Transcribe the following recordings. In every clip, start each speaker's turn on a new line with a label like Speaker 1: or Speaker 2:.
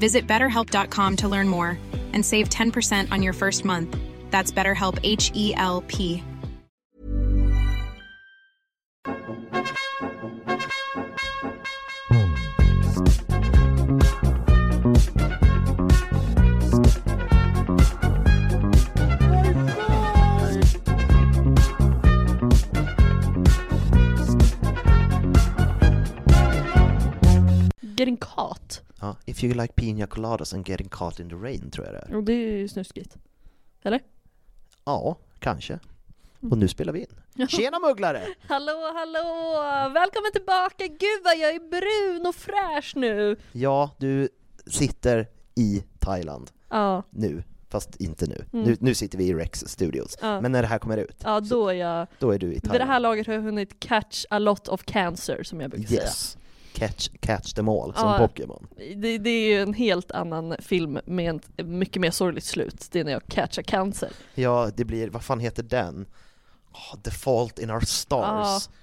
Speaker 1: Visit betterhelp.com to learn more and save 10% on your first month. That's BetterHelp H E L P.
Speaker 2: Getting caught.
Speaker 3: Ja, if you like pina coladas and getting caught in the rain tror jag det är.
Speaker 2: Och det är ju snuskigt.
Speaker 3: Ja, kanske. Och nu spelar vi in. Tjena mugglare!
Speaker 2: Hallå, hallå! Välkommen tillbaka! Gud vad jag är brun och fräsch nu!
Speaker 3: Ja, du sitter i Thailand
Speaker 2: Ja,
Speaker 3: nu, fast inte nu.
Speaker 2: Mm.
Speaker 3: Nu, nu sitter vi i Rex Studios.
Speaker 2: Ja.
Speaker 3: Men när det här kommer ut,
Speaker 2: ja då är jag...
Speaker 3: då är du i
Speaker 2: Vid det
Speaker 3: Thailand.
Speaker 2: här laget har jag hunnit catch a lot of cancer som jag brukar
Speaker 3: yes. Catch, catch them all, som
Speaker 2: Ja.
Speaker 3: Pokémon.
Speaker 2: säga. Det, det är ju en helt annan film med en- ett mycket mer sorgligt slut. Det är när jag catchar cancer.
Speaker 3: Ja, det blir, vad fan heter den? Ah, The Fault in Our Stars.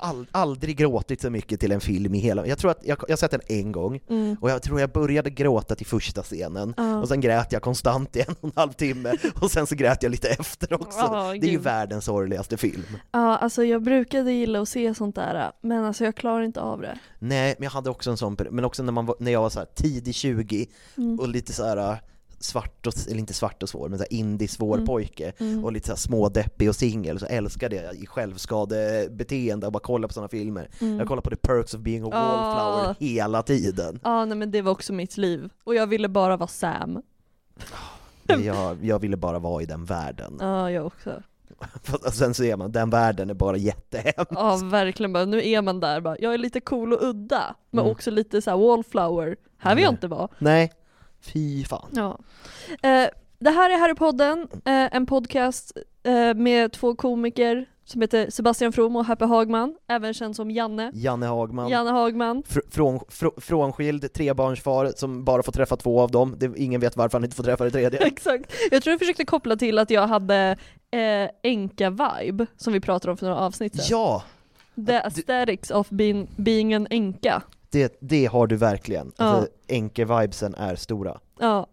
Speaker 3: All, aldrig gråtit så mycket till en film i hela... Jag tror att jag, jag har sett den en gång,
Speaker 2: Mm.
Speaker 3: och jag tror jag började gråta till första scenen,
Speaker 2: Ja.
Speaker 3: och sen grät jag konstant i en och en halv timme, och sen så grät jag lite efter också.
Speaker 2: Ja,
Speaker 3: det är ju
Speaker 2: gud.
Speaker 3: världens sorgligaste film.
Speaker 2: Ja, alltså jag brukade gilla att se sånt där, men alltså jag klarar inte av det.
Speaker 3: Nej, men jag hade också en sån period, men också när, man var, när jag var så här tidig 20
Speaker 2: Mm.
Speaker 3: och lite så här äh, svart och, eller inte svart och svår, men så här indie-svår
Speaker 2: Mm.
Speaker 3: pojke och lite så här smådeppig och singel så älskade jag i självskadebeteende och bara kolla på sådana filmer. Jag kollade på The Perks of Being a Wallflower
Speaker 2: Mm. Ah.
Speaker 3: hela tiden.
Speaker 2: Ja, nej men det var också mitt liv. Och jag ville bara vara Sam.
Speaker 3: Jag, jag ville bara vara i den världen.
Speaker 2: Ja, jag också.
Speaker 3: Fast- och Sen så är man, den världen är bara jättehemsk.
Speaker 2: Ja, verkligen bara, nu är man där bara, jag är lite cool och udda, men
Speaker 3: Mm.
Speaker 2: också lite så här wallflower. Här vill jag inte vara.
Speaker 3: Nej, fy fan.
Speaker 2: Ja. Eh, det här är Harrypodden, eh, en podcast eh, med två komiker som heter Sebastian From och Happy Hagman, även känd som Janne.
Speaker 3: Janne Hagman.
Speaker 2: Janne Hagman.
Speaker 3: Fr- från, fr- frånskild trebarnsfar som bara får träffa två av dem. Det, ingen vet varför han inte får träffa det tredje.
Speaker 2: Exakt. Jag tror du försökte koppla till att jag hade eh, enka-vibe, som vi pratade om för några avsnitt sedan.
Speaker 3: Ja,
Speaker 2: The aesthetics of being, being en enka.
Speaker 3: det, det har du verkligen.
Speaker 2: Ja.
Speaker 3: Alltså, Enke-vibesen är stora.
Speaker 2: Ja.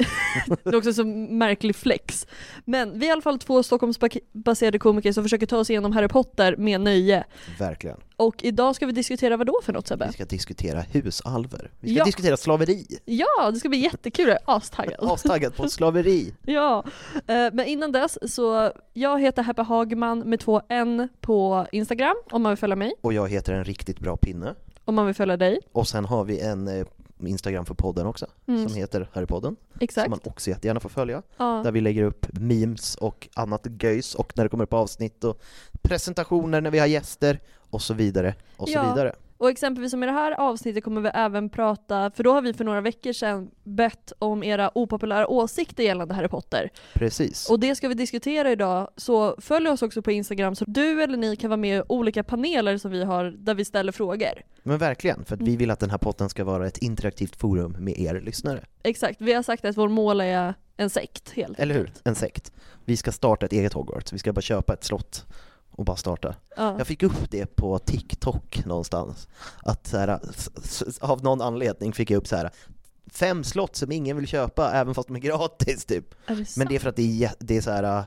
Speaker 2: det är också en så märklig flex. Men vi är i alla fall två Stockholmsbaserade komiker som försöker ta oss igenom Harry Potter med nöje.
Speaker 3: Verkligen.
Speaker 2: Och idag ska vi diskutera vad då för något Sebbe?
Speaker 3: Vi ska diskutera husalver. Vi ska
Speaker 2: Ja.
Speaker 3: diskutera slaveri.
Speaker 2: Ja, det ska bli jättekul, jag är astaggad.
Speaker 3: Astaggad på slaveri.
Speaker 2: Ja, eh, men innan dess så, jag heter Happy Hagman med två N på Instagram om man vill följa mig,
Speaker 3: Och jag heter en riktigt bra pinne.
Speaker 2: om man vill följa dig.
Speaker 3: Och sen har vi en eh, Instagram för podden också, som heter Harrypodden, som
Speaker 2: Mm. Exakt.
Speaker 3: man också jättegärna får följa.
Speaker 2: Ja.
Speaker 3: Där vi lägger upp memes och annat göjs och när det kommer upp avsnitt och presentationer när vi har gäster och så vidare och så
Speaker 2: Ja.
Speaker 3: vidare.
Speaker 2: Och exempelvis som i det här avsnittet kommer vi även prata, för då har vi för några veckor sedan bett om era opopulära åsikter gällande Harry Potter.
Speaker 3: Precis.
Speaker 2: Och det ska vi diskutera idag, så följ oss också på Instagram så du eller ni kan vara med i olika paneler som vi har där vi ställer frågor.
Speaker 3: Men verkligen, för att
Speaker 2: Mm.
Speaker 3: vi vill att den här potten ska vara ett interaktivt forum med er lyssnare.
Speaker 2: Exakt, vi har sagt att vårt mål är en sekt helt
Speaker 3: Eller hur?
Speaker 2: enkelt.
Speaker 3: En sekt. Vi ska starta ett eget Hogwarts, vi ska bara köpa ett slott och bara starta.
Speaker 2: Ja.
Speaker 3: Jag fick upp det på TikTok någonstans. Att så här, s- s- av någon anledning fick jag upp så här fem slott som ingen vill köpa även fast de är gratis
Speaker 2: Är
Speaker 3: typ.
Speaker 2: det
Speaker 3: Men
Speaker 2: sant?
Speaker 3: det är för att det är, jä- det är så här äh,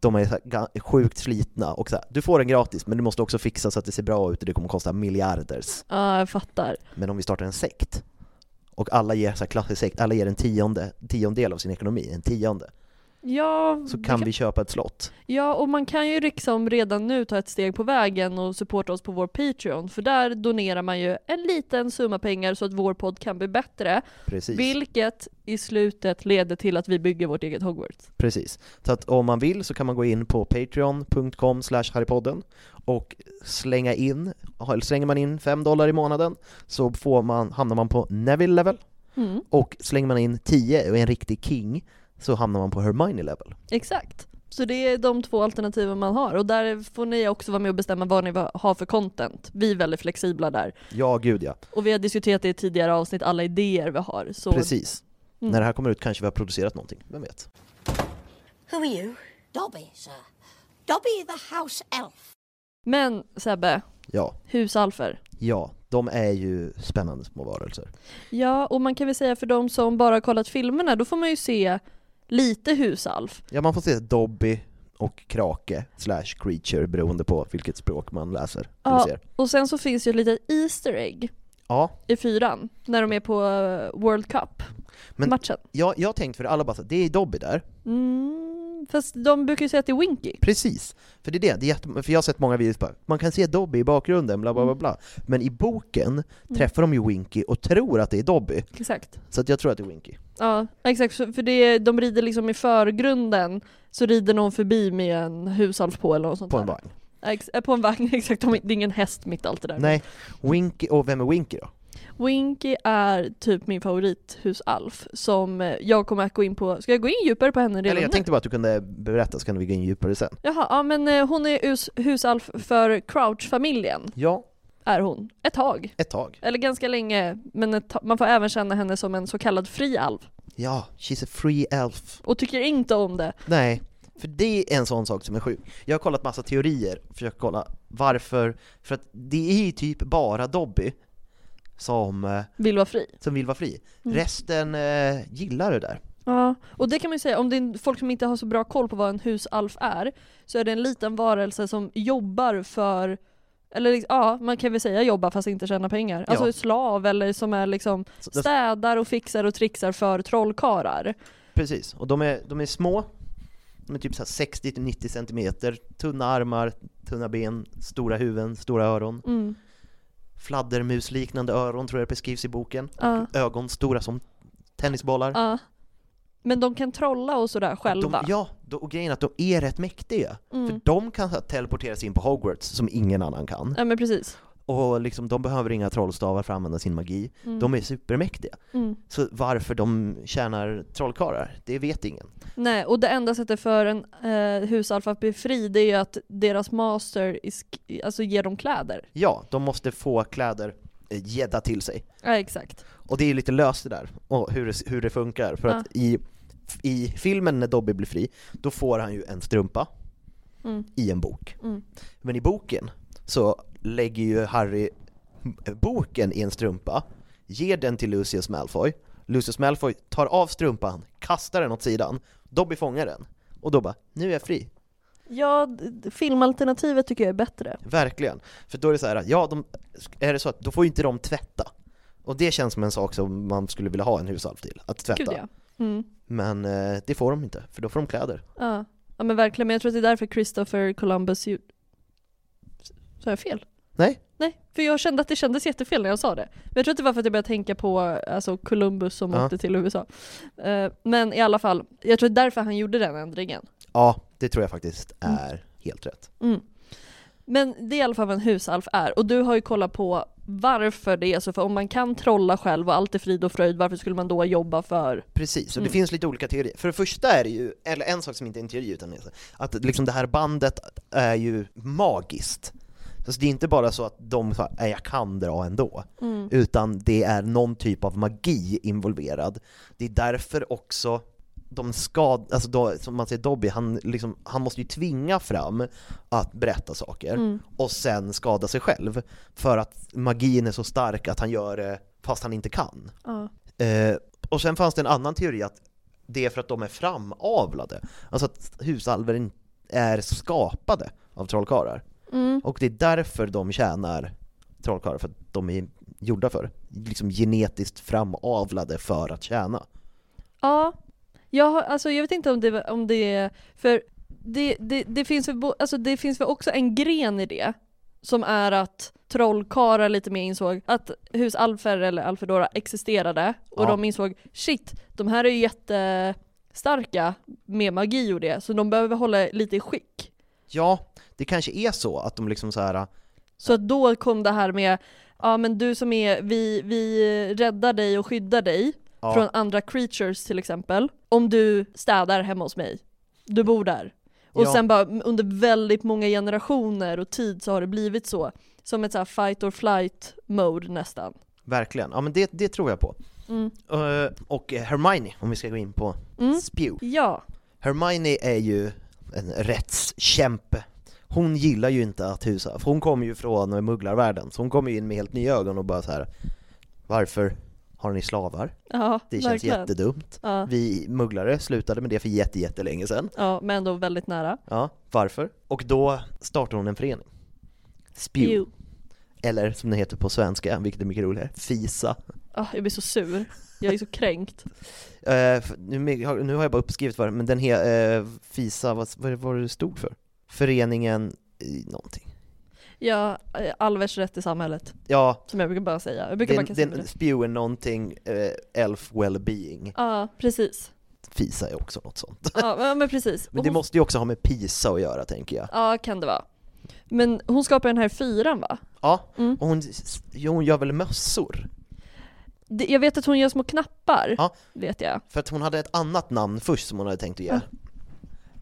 Speaker 3: de är så här ga- sjukt slitna och så här, du får den gratis men du måste också fixa så att det ser bra ut och det kommer kosta miljarders.
Speaker 2: Ja, jag fattar.
Speaker 3: Men om vi startar en sekt och alla ger så här klassisk sekt, alla ger en tionde, tiondel av sin ekonomi, en tionde,
Speaker 2: Ja,
Speaker 3: så
Speaker 2: Mm, det
Speaker 3: kan vi köpa ett slott.
Speaker 2: Ja, och man kan ju liksom redan nu ta ett steg på vägen och supporta oss på vår Patreon, för där donerar man ju en liten summa pengar så att vår podd kan bli bättre,
Speaker 3: Precis.
Speaker 2: vilket i slutet leder till att vi bygger vårt eget Hogwarts.
Speaker 3: Precis. Så att om man vill så kan man gå in på patreon.com slash harrypodden och slänga in, eller slänger man in 5 dollar i månaden så får man, hamnar man på Neville level
Speaker 2: Mm,
Speaker 3: och slänger man in 10 och är en riktig king så hamnar man på Hermione level.
Speaker 2: exakt. Så det är de två alternativen man har och där får ni också vara med och bestämma vad ni va- har för content. Vi är väldigt flexibla där.
Speaker 3: Ja, gud ja.
Speaker 2: Och vi har diskuterat det i tidigare avsnitt, alla idéer vi har. Så
Speaker 3: Precis.
Speaker 2: Mm.
Speaker 3: När det här kommer ut kanske vi har producerat någonting, vem vet?
Speaker 4: Who are you? Dobby, sir. Dobby the house elf.
Speaker 2: Men Sebbe,
Speaker 3: Ja,
Speaker 2: husalfer.
Speaker 3: ja, de är ju spännande små varelser.
Speaker 2: Ja, och man kan väl säga för de som bara har kollat filmerna, då får man ju se lite husalf.
Speaker 3: Ja, man får se Dobby och Krake slash creature beroende på vilket språk man läser eller
Speaker 2: Ja.
Speaker 3: ser.
Speaker 2: Och sen så finns ju lite Easter egg
Speaker 3: Ja,
Speaker 2: i fyran, när de är på eh, World
Speaker 3: Men-
Speaker 2: Cup-matchen.
Speaker 3: Jag, jag har tänkt för alla bara så, här, det är Dobby där.
Speaker 2: Mm, fast de brukar ju säga att det är Winky.
Speaker 3: Precis. För det är det, det är jätte, för jag har sett många videos bara, man kan se Dobby i bakgrunden, bla bla bla bla. Men i boken träffar de ju Winky och tror att det är Dobby.
Speaker 2: Exakt.
Speaker 3: Så att jag tror att det är Winky.
Speaker 2: Ja, exakt. så- För det, är- de rider liksom i förgrunden, så rider någon förbi med en husalf på eller något sånt
Speaker 3: På en
Speaker 2: där.
Speaker 3: vagn.
Speaker 2: Ex- eh, på en vagn, exakt. De, det är ingen häst mitt i allt det där.
Speaker 3: Nej, Winky, och vem är Winky då?
Speaker 2: Winky är typ min favorithusalf som eh, jag kommer att gå in på. Ska jag gå in djupare på henne redan
Speaker 3: Eller jag
Speaker 2: nu?
Speaker 3: tänkte bara att du kunde berätta så kan vi gå in djupare sen.
Speaker 2: Jaha, ja men eh, hon är hus, husalf för Crouch-familjen,
Speaker 3: Ja,
Speaker 2: är hon. Ett tag.
Speaker 3: ett tag.
Speaker 2: Eller ganska länge, men ett ta- man får även känna henne som en så kallad fri alv.
Speaker 3: Ja, she's a free elf.
Speaker 2: Och tycker inte om det.
Speaker 3: Nej, för det är en sån sak som är sjuk. Jag har kollat massa teorier, försökt kolla varför, för att det är ju typ bara Dobby som eh,
Speaker 2: Vill vara fri.
Speaker 3: som vill vara fri.
Speaker 2: Mm.
Speaker 3: Resten eh, gillar det där.
Speaker 2: Ja, och det kan man ju säga, om det är folk som inte har så bra koll på vad en husalf är, så är det en liten varelse som jobbar för, eller liksom- ja, man kan väl säga jobbar fast inte tjäna pengar. Alltså
Speaker 3: Ja.
Speaker 2: är slav eller som är liksom
Speaker 3: Så det-
Speaker 2: städar och fixar och trixar för trollkarlar.
Speaker 3: Precis, och de är, de är små. De är typ så här 60-90 centimeter, tunna armar, tunna ben, stora huvuden, stora öron.
Speaker 2: Mm.
Speaker 3: Fladdermusliknande öron tror jag det beskrivs i boken.
Speaker 2: Ja.
Speaker 3: Ögon stora som tennisbollar.
Speaker 2: Ja. Men de kan trolla och sådär själva.
Speaker 3: De, ja, då- och grejen är att de är rätt mäktiga.
Speaker 2: Mm.
Speaker 3: För de kan så här teleporteras in på Hogwarts som ingen annan kan.
Speaker 2: ja men precis.
Speaker 3: Och liksom, de behöver inga trollstavar för att använda sin magi. De är supermäktiga.
Speaker 2: Mm.
Speaker 3: Så varför de tjänar trollkarlar, det vet ingen.
Speaker 2: Nej, och det enda sättet för en eh, husalf att bli fri det är ju att deras master is, alltså ger dem kläder.
Speaker 3: Ja, de måste få kläder eh, gädda till sig.
Speaker 2: Ja exakt.
Speaker 3: Och det är ju lite löst det där, och hur det, hur det funkar. För att i, i filmen när Dobby blir fri, då får han ju en strumpa
Speaker 2: Mm.
Speaker 3: i en bok.
Speaker 2: Mm.
Speaker 3: Men i boken så lägger ju Harry eh, boken i en strumpa, ger den till Lucius Malfoy. Lucius Malfoy tar av strumpan, kastar den åt sidan, Dobby fångar den. Och då bara, nu är jag fri.
Speaker 2: Ja, d- filmalternativet tycker jag är bättre.
Speaker 3: Verkligen. För då är det så här, ja, de, är det så att då får ju inte de tvätta. Och det känns som en sak som man skulle vilja ha en husalv till, att tvätta.
Speaker 2: Gud ja. Mm.
Speaker 3: Men eh, det får de inte, för då får de kläder.
Speaker 2: ja. Ja men verkligen, men jag tror att det är därför Christopher Columbus ju... Sa jag fel?
Speaker 3: Nej?
Speaker 2: Nej, för jag kände att det kändes jättefel när jag sa det. Men jag tror att det var för att jag började tänka på alltså, Columbus som
Speaker 3: Ja.
Speaker 2: åkte till USA. Eh, men i alla fall, jag tror att det är därför han gjorde den ändringen.
Speaker 3: Mm. Ja, det tror jag faktiskt är helt rätt.
Speaker 2: Men det är i alla fall vad en husalf är. Och du har ju kollat på varför det är så, för om man kan trolla själv och allt är frid och fröjd, varför skulle man då jobba för...
Speaker 3: Precis, och det finns lite olika teorier. För det första är det ju, eller en sak som inte är en teori utan är så- att liksom det här bandet är ju magiskt. Så det är inte bara så att de sa "Nej, jag kan dra ändå, utan det är någon typ av magi involverad. Det är därför också de skad, alltså då, som man säger Dobby, han, liksom, han måste ju tvinga fram att berätta saker och sen skada sig själv. För att magin är så stark att han gör det fast han inte kan. Eh, och sen fanns det en annan teori att det är för att de är framavlade. Alltså att husalver in- är skapade av trollkarlar. Och det är därför de tjänar trollkarlar, för att de är gjorda för det. Liksom genetiskt framavlade för att tjäna.
Speaker 2: Ja, jag, har, alltså, jag vet inte om det, om det är... För det, det, det, finns väl, bo- alltså, det finns väl också en gren i det, som är att trollkarlar lite mer insåg att hus Alfer eller Alfedora existerade, och
Speaker 3: Ja.
Speaker 2: de insåg shit, de här är ju jättestarka med magi och det, så de behöver hålla lite i skick.
Speaker 3: Ja, det kanske är så att de liksom så här
Speaker 2: Så att då kom det här med, ja men du som är, vi, vi räddar dig och skyddar dig
Speaker 3: Ja.
Speaker 2: från andra creatures till exempel, om du städar hemma hos mig. Du bor där. Och
Speaker 3: Ja.
Speaker 2: sen bara under väldigt många generationer och tid så har det blivit så. Som ett så här fight or flight mode nästan.
Speaker 3: Verkligen, ja men det, det tror jag på. Eh, och Hermione, om vi ska gå in på Spew.
Speaker 2: Ja,
Speaker 3: Hermione är ju en rättskämpe. Hon gillar ju inte att husa, för hon kommer ju från mugglarvärlden, så hon kommer ju in med helt nya ögon och bara så här. Varför har ni slavar?
Speaker 2: ja
Speaker 3: Det känns
Speaker 2: verkligen.
Speaker 3: jättedumt.
Speaker 2: Ja.
Speaker 3: Vi mugglare slutade med det för jätte, jättelänge sedan.
Speaker 2: Ja, men ändå väldigt nära.
Speaker 3: Ja, varför? Och då startar hon en förening. Spew.
Speaker 2: Jo.
Speaker 3: Eller som det heter på svenska, vilket är mycket roligare, FISA.
Speaker 2: Ah, jag blir så sur. Jag är så kränkt.
Speaker 3: Eh, för- nu, me- har- nu har jag bara uppskrivit vad det- men den här FISA, vad, vad var det det stod för? Föreningen i någonting.
Speaker 2: Ja, eh, Alvers rätt i samhället.
Speaker 3: Ja,
Speaker 2: Som jag brukar bara säga. Jag brukar
Speaker 3: den,
Speaker 2: bara kasta ur
Speaker 3: den
Speaker 2: det.
Speaker 3: spewar någonting, eh, elf wellbeing.
Speaker 2: Ja, precis.
Speaker 3: FISA är också något sånt.
Speaker 2: Ja men- men precis.
Speaker 3: Men
Speaker 2: Och
Speaker 3: det
Speaker 2: hon,
Speaker 3: måste ju också ha med PISA att göra tänker jag.
Speaker 2: ja kan det vara. Men hon skapar den här fyran va?
Speaker 3: Ja, och hon, s- jo, hon gör väl mössor?
Speaker 2: Det- Jag vet att hon gör små knappar,
Speaker 3: Ja.
Speaker 2: vet jag.
Speaker 3: För att hon hade ett annat namn först som hon hade tänkt att ge.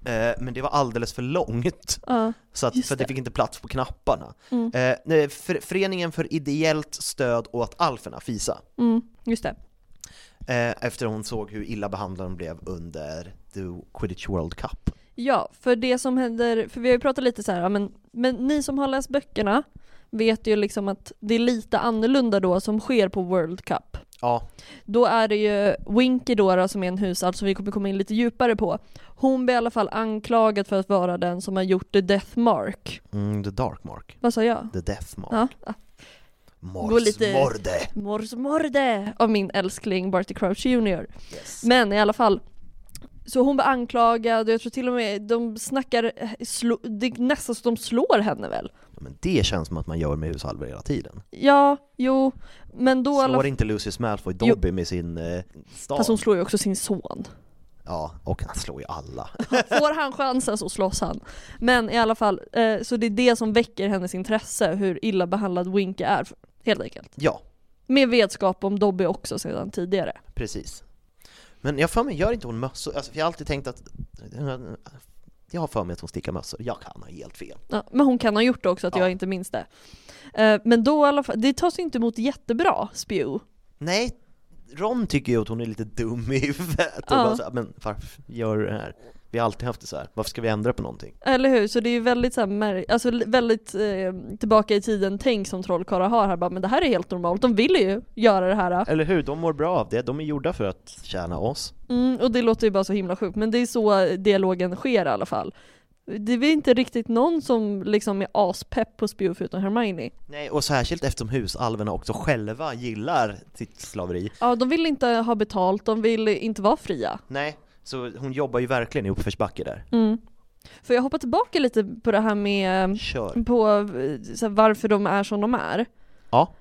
Speaker 3: Eh, Men det var alldeles för långt,
Speaker 2: Ja.
Speaker 3: så att,
Speaker 2: just
Speaker 3: för att det
Speaker 2: det.
Speaker 3: fick inte plats på knapparna. Eh, nej, för, föreningen för ideellt stöd åt alferna, FISA.
Speaker 2: Mm, just det.
Speaker 3: Eh, efter hon såg hur illa behandlade de blev under the Quidditch World Cup.
Speaker 2: Ja, för det som händer, för vi har ju pratat lite så här, ja, men, men ni som har läst böckerna vet ju liksom att det är lite annorlunda då som sker på World Cup.
Speaker 3: Ja,
Speaker 2: Då är det ju Winky då, då som är en husart som vi kommer komma in lite djupare på. Hon blir i alla fall anklagad för att vara den som har gjort the death mark.
Speaker 3: mm, the Dark Mark.
Speaker 2: Vad sa jag?
Speaker 3: The Death Mark.
Speaker 2: Ja, Gå
Speaker 3: Mors
Speaker 2: lite-
Speaker 3: Morde.
Speaker 2: Mors morde av min älskling Barty Crouch Jr.
Speaker 3: Yes.
Speaker 2: Men i alla fall. Så hon blir anklagad och jag tror till och med de snackar, eh, slå, det är nästan så de slår henne väl?
Speaker 3: Ja, Men det känns som att man gör med hushalvor hela tiden.
Speaker 2: Ja, jo, men då i alla
Speaker 3: Slår
Speaker 2: fall,
Speaker 3: inte Lucius Malfoy Dobby med sin eh, stav?
Speaker 2: Fast hon slår ju också sin son.
Speaker 3: Ja, och han slår ju alla.
Speaker 2: Får han chansen så slåss han. Men i alla fall, eh, så det är det som väcker hennes intresse, hur illa behandlad Winky är, helt enkelt.
Speaker 3: ja,
Speaker 2: Med vetskap om Dobby också sedan tidigare.
Speaker 3: precis. Men jag för mig, gör inte hon mössor? Alltså, för jag har alltid tänkt att... Jag har för mig att hon stickar mössor. Jag kan ha helt fel.
Speaker 2: Ja, men hon kan ha gjort det också, att
Speaker 3: Ja.
Speaker 2: jag inte minns det. Eh, men då i alla fall, det tas ju inte emot jättebra, Spew.
Speaker 3: Nej, Ron tycker ju att hon är lite dum i huvudet. Och
Speaker 2: Ja.
Speaker 3: bara så här, men varför gör du det här? Vi har alltid haft det så här. varför ska vi ändra på någonting?
Speaker 2: Eller hur? Så det är ju väldigt, så här, mär- alltså, li- väldigt eh, tillbaka i tiden tänk som trollkarlar har här. Bara, men det här är helt normalt, de vill ju göra det här.
Speaker 3: Eller hur, de mår bra av det. De är gjorda för att tjäna oss.
Speaker 2: Mm, och det låter ju bara så himla sjukt, men det är så dialogen sker i alla fall. Det är väl inte riktigt någon som liksom är aspepp på Spew förutom Hermione.
Speaker 3: Nej, och särskilt eftersom husalverna också själva gillar sitt slaveri.
Speaker 2: Ja, de vill inte ha betalt, de vill inte vara fria.
Speaker 3: Nej, så hon jobbar ju verkligen i uppförsbacke där.
Speaker 5: Mm.
Speaker 2: För jag hoppar tillbaka lite på det här med
Speaker 5: Mm.
Speaker 3: Kör.
Speaker 2: på, eh, så här, varför de är som de är.
Speaker 3: Ja.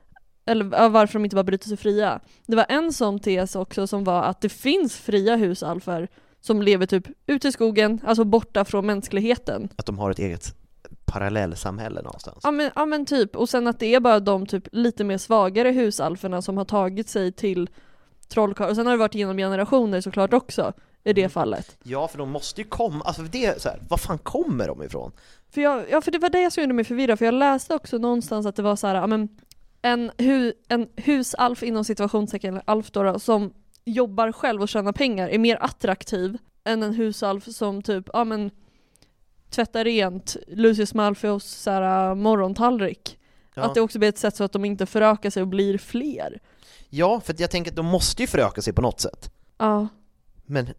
Speaker 2: eller ja, varför de inte bara bryter sig fria. Det var en sån tes också som var att det finns fria husalfer som lever typ ute i skogen, alltså borta från mänskligheten.
Speaker 3: Att de har ett eget parallellsamhälle någonstans.
Speaker 5: Ja men, ja men typ, och sen att det är bara de typ lite mer svagare husalferna som har tagit sig till trollkarlar, och sen har det varit genom generationer såklart också i det fallet.
Speaker 3: Ja, för de måste ju komma, alltså för det är så här, var fan kommer de ifrån?
Speaker 5: För jag, ja för det var det som gjorde mig förvirrad, för jag läste också någonstans att det var så här, ja men en, hu, en husalf inom situationstecken, eller alf då, då, som jobbar själv och tjänar pengar är mer attraktiv än en husalf som typ, ja men tvättar rent Lucius Malfoys så här, äh, morgontallrik.
Speaker 3: Ja.
Speaker 5: Att det också blir ett sätt så att de inte förökar sig och blir fler.
Speaker 3: Ja, för att jag tänker att de måste ju föröka sig på något sätt.
Speaker 5: Ja.
Speaker 3: Men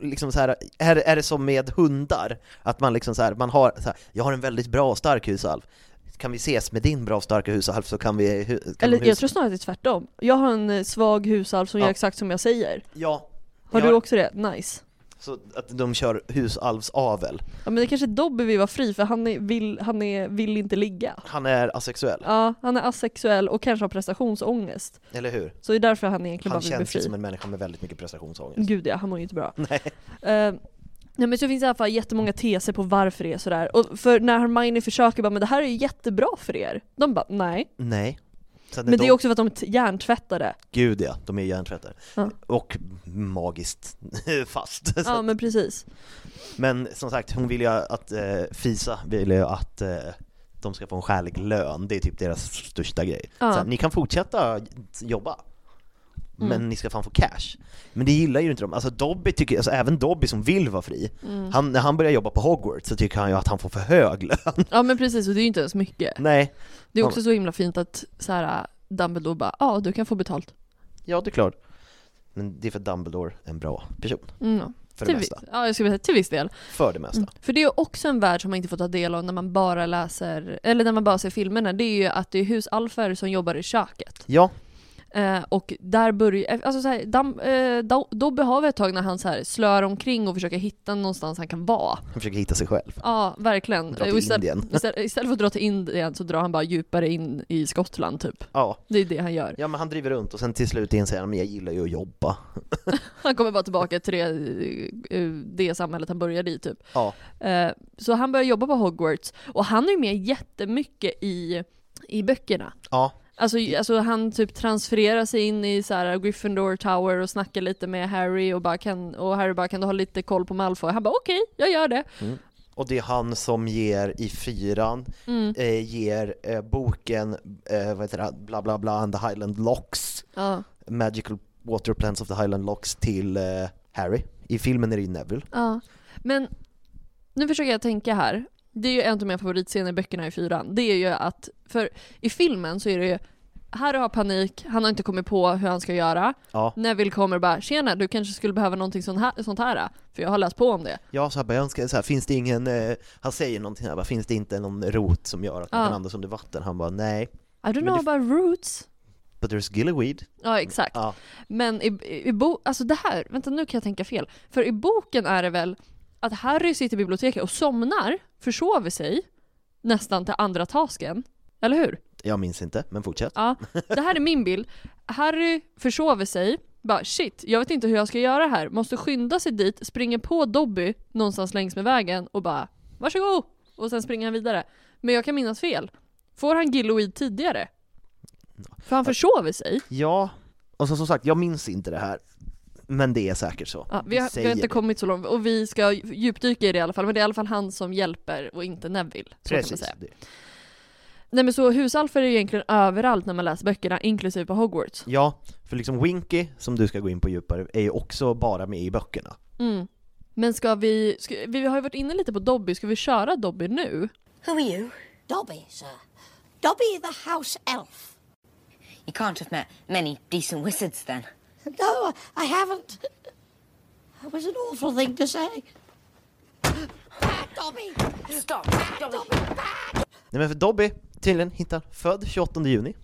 Speaker 3: liksom så här, är, är det som med hundar? Att man liksom så här, man har så här, jag har en väldigt bra och stark husalv. Kan vi ses med din bra och starka husalv så kan vi... hu- Kan
Speaker 5: Eller
Speaker 3: de
Speaker 5: jag
Speaker 3: hus-
Speaker 5: tror snarare att det är tvärtom. Jag har en eh, svag husalv som
Speaker 3: Ja.
Speaker 5: gör exakt som jag säger.
Speaker 3: Ja.
Speaker 5: Har
Speaker 3: ja,
Speaker 5: du också det? Nice.
Speaker 3: Så att de kör husalvsavel.
Speaker 5: Ja men det är kanske är Dobby vi var fri för han, är, vill, han är, vill inte ligga.
Speaker 3: Han är asexuell,
Speaker 5: Ja, han är asexuell och kanske har prestationsångest.
Speaker 3: eller hur?
Speaker 5: Så det är därför han egentligen
Speaker 3: Han
Speaker 5: bara vill bli
Speaker 3: känns ju
Speaker 5: fri.
Speaker 3: som en människa med väldigt mycket prestationsångest.
Speaker 5: Gud ja, han mår ju inte bra.
Speaker 3: Nej.
Speaker 5: Eh, nej men så finns det i alla fall jättemånga teser på varför det är sådär. Och för när Hermione försöker bara men det här är ju jättebra för er. De bara nej.
Speaker 3: Nej. Sen
Speaker 5: Men det
Speaker 3: de-
Speaker 5: är också för att de är t- hjärntvättade.
Speaker 3: Gud ja, de är ju hjärntvättade.
Speaker 5: Ja.
Speaker 3: Och magiskt fast. Så
Speaker 5: Ja men precis.
Speaker 3: Men som sagt, hon vill ju att eh, Fisa vill ju att eh, de ska få en skälig lön, det är typ deras största grej.
Speaker 5: Ja.
Speaker 3: Så här, ni kan fortsätta jobba, men ni ska fan få cash. Men det gillar ju inte de. Alltså Dobby tycker, alltså även Dobby som vill vara fri, han, när han börjar jobba på Hogwarts så tycker han ju att han får för hög lön.
Speaker 2: Ja men precis, och det är ju inte ens mycket.
Speaker 3: Nej,
Speaker 2: Det är också så himla fint att så här, äh, Dumbledore bara ja du kan få betalt.
Speaker 3: ja det är klart. Men det är för att Dumbledore är en bra person,
Speaker 2: Mm. Till,
Speaker 3: för det
Speaker 2: vi- Mm.
Speaker 3: mesta.
Speaker 2: ja, jag skulle säga till viss del.
Speaker 3: För det mesta.
Speaker 2: För det är ju också en värld som man inte får ta del av när man bara läser, eller när man bara ser filmerna, det är ju att det är husalfer som jobbar i köket.
Speaker 3: Ja,
Speaker 2: Eh, och där börjar, alltså så här, Dam, eh, Do- Dobby har vi ett tag när han så här slör omkring och försöker hitta någonstans han kan vara.
Speaker 3: han försöker hitta sig själv.
Speaker 2: Ja, verkligen.
Speaker 3: Dra till
Speaker 2: Eh, och istället,
Speaker 3: Indien.
Speaker 2: Istället, istället för att dra till Indien så drar han bara djupare in i Skottland typ.
Speaker 3: Ja,
Speaker 2: Det är det han gör.
Speaker 3: ja men han driver runt och sen till slut inser han, men jag gillar ju att jobba.
Speaker 2: Han kommer bara tillbaka till det, eh, det samhället han började i typ.
Speaker 3: Ja.
Speaker 2: Eh, Så han börjar jobba på Hogwarts och han är ju med jättemycket i, i böckerna.
Speaker 3: Ja,
Speaker 2: Alltså, alltså han typ transfererar sig in i så här Gryffindor Tower och snackar lite med Harry och, bara kan, och Harry bara kan du ha lite koll på Malfoy? Han bara okej, jag gör det.
Speaker 3: Och det är han som ger i fyran,
Speaker 2: Mm.
Speaker 3: eh, ger eh, boken, eh, vad heter det, bla bla bla, and the Highland Locks,
Speaker 2: Ja,
Speaker 3: Magical Water Plants of the Highland Locks till eh, Harry. I filmen är det ju Neville.
Speaker 2: ja. Men nu försöker jag tänka här. Det är ju en av mina favoritscener i böckerna i fyran. Det är ju att, för i filmen så är det ju Harry har panik, han har inte kommit på hur han ska göra.
Speaker 3: Ja,
Speaker 2: Neville kommer och bara “tjena, du kanske skulle behöva någonting sånt här, sånt här för jag har läst på om det”.
Speaker 3: ja så här, bara, jag önskar, så här, finns det ingen, eh, han säger någonting här, bara, finns det inte någon rot som gör att man
Speaker 2: Ja.
Speaker 3: kan andas under vatten? Han bara nej,
Speaker 2: I don't
Speaker 3: Men
Speaker 2: know about roots.
Speaker 3: but there's gillyweed.
Speaker 2: Ja, exakt.
Speaker 3: Ja,
Speaker 2: Men i, i, i bo- alltså det här, vänta nu kan jag tänka fel. För i boken är det väl att Harry sitter i biblioteket och somnar, försover sig, nästan till andra tasken. Eller hur?
Speaker 3: jag minns inte, men fortsätt.
Speaker 2: Ja, det här är min bild. Harry försover sig, bara shit, jag vet inte hur jag ska göra här. Måste skynda sig dit, springer på Dobby någonstans längs med vägen och bara varsågod! Och sen springer han vidare. Men jag kan minnas fel. Får han Gilloid tidigare? För han försover sig.
Speaker 3: Ja, och så, som sagt, jag minns inte det här. Men det är säkert så.
Speaker 2: Ja, vi, har, vi har
Speaker 3: säger
Speaker 2: inte
Speaker 3: det.
Speaker 2: kommit så långt och vi ska djupdyka i det i alla fall. Men det är i alla fall han som hjälper och inte Neville. Så kan man
Speaker 3: Precis.
Speaker 2: säga.
Speaker 3: det.
Speaker 2: Nej men så husalfer är ju egentligen överallt när man läser böckerna, inklusive på Hogwarts.
Speaker 3: Ja, för liksom Winky, som du ska gå in på djupare, är ju också bara med i böckerna.
Speaker 2: Mm. Men ska vi, ska, vi har ju varit inne lite på Dobby, ska vi köra Dobby nu?
Speaker 6: Who are you?
Speaker 4: Dobby, sir. Dobby the house elf.
Speaker 7: You can't have met many decent wizards then.
Speaker 4: No, I haven't. That was an awful thing to say. Bad Dobby!
Speaker 7: Stop,
Speaker 4: Bad Dobby! Bad!
Speaker 3: Nej men för Dobby, tydligen hittar född 28 juni.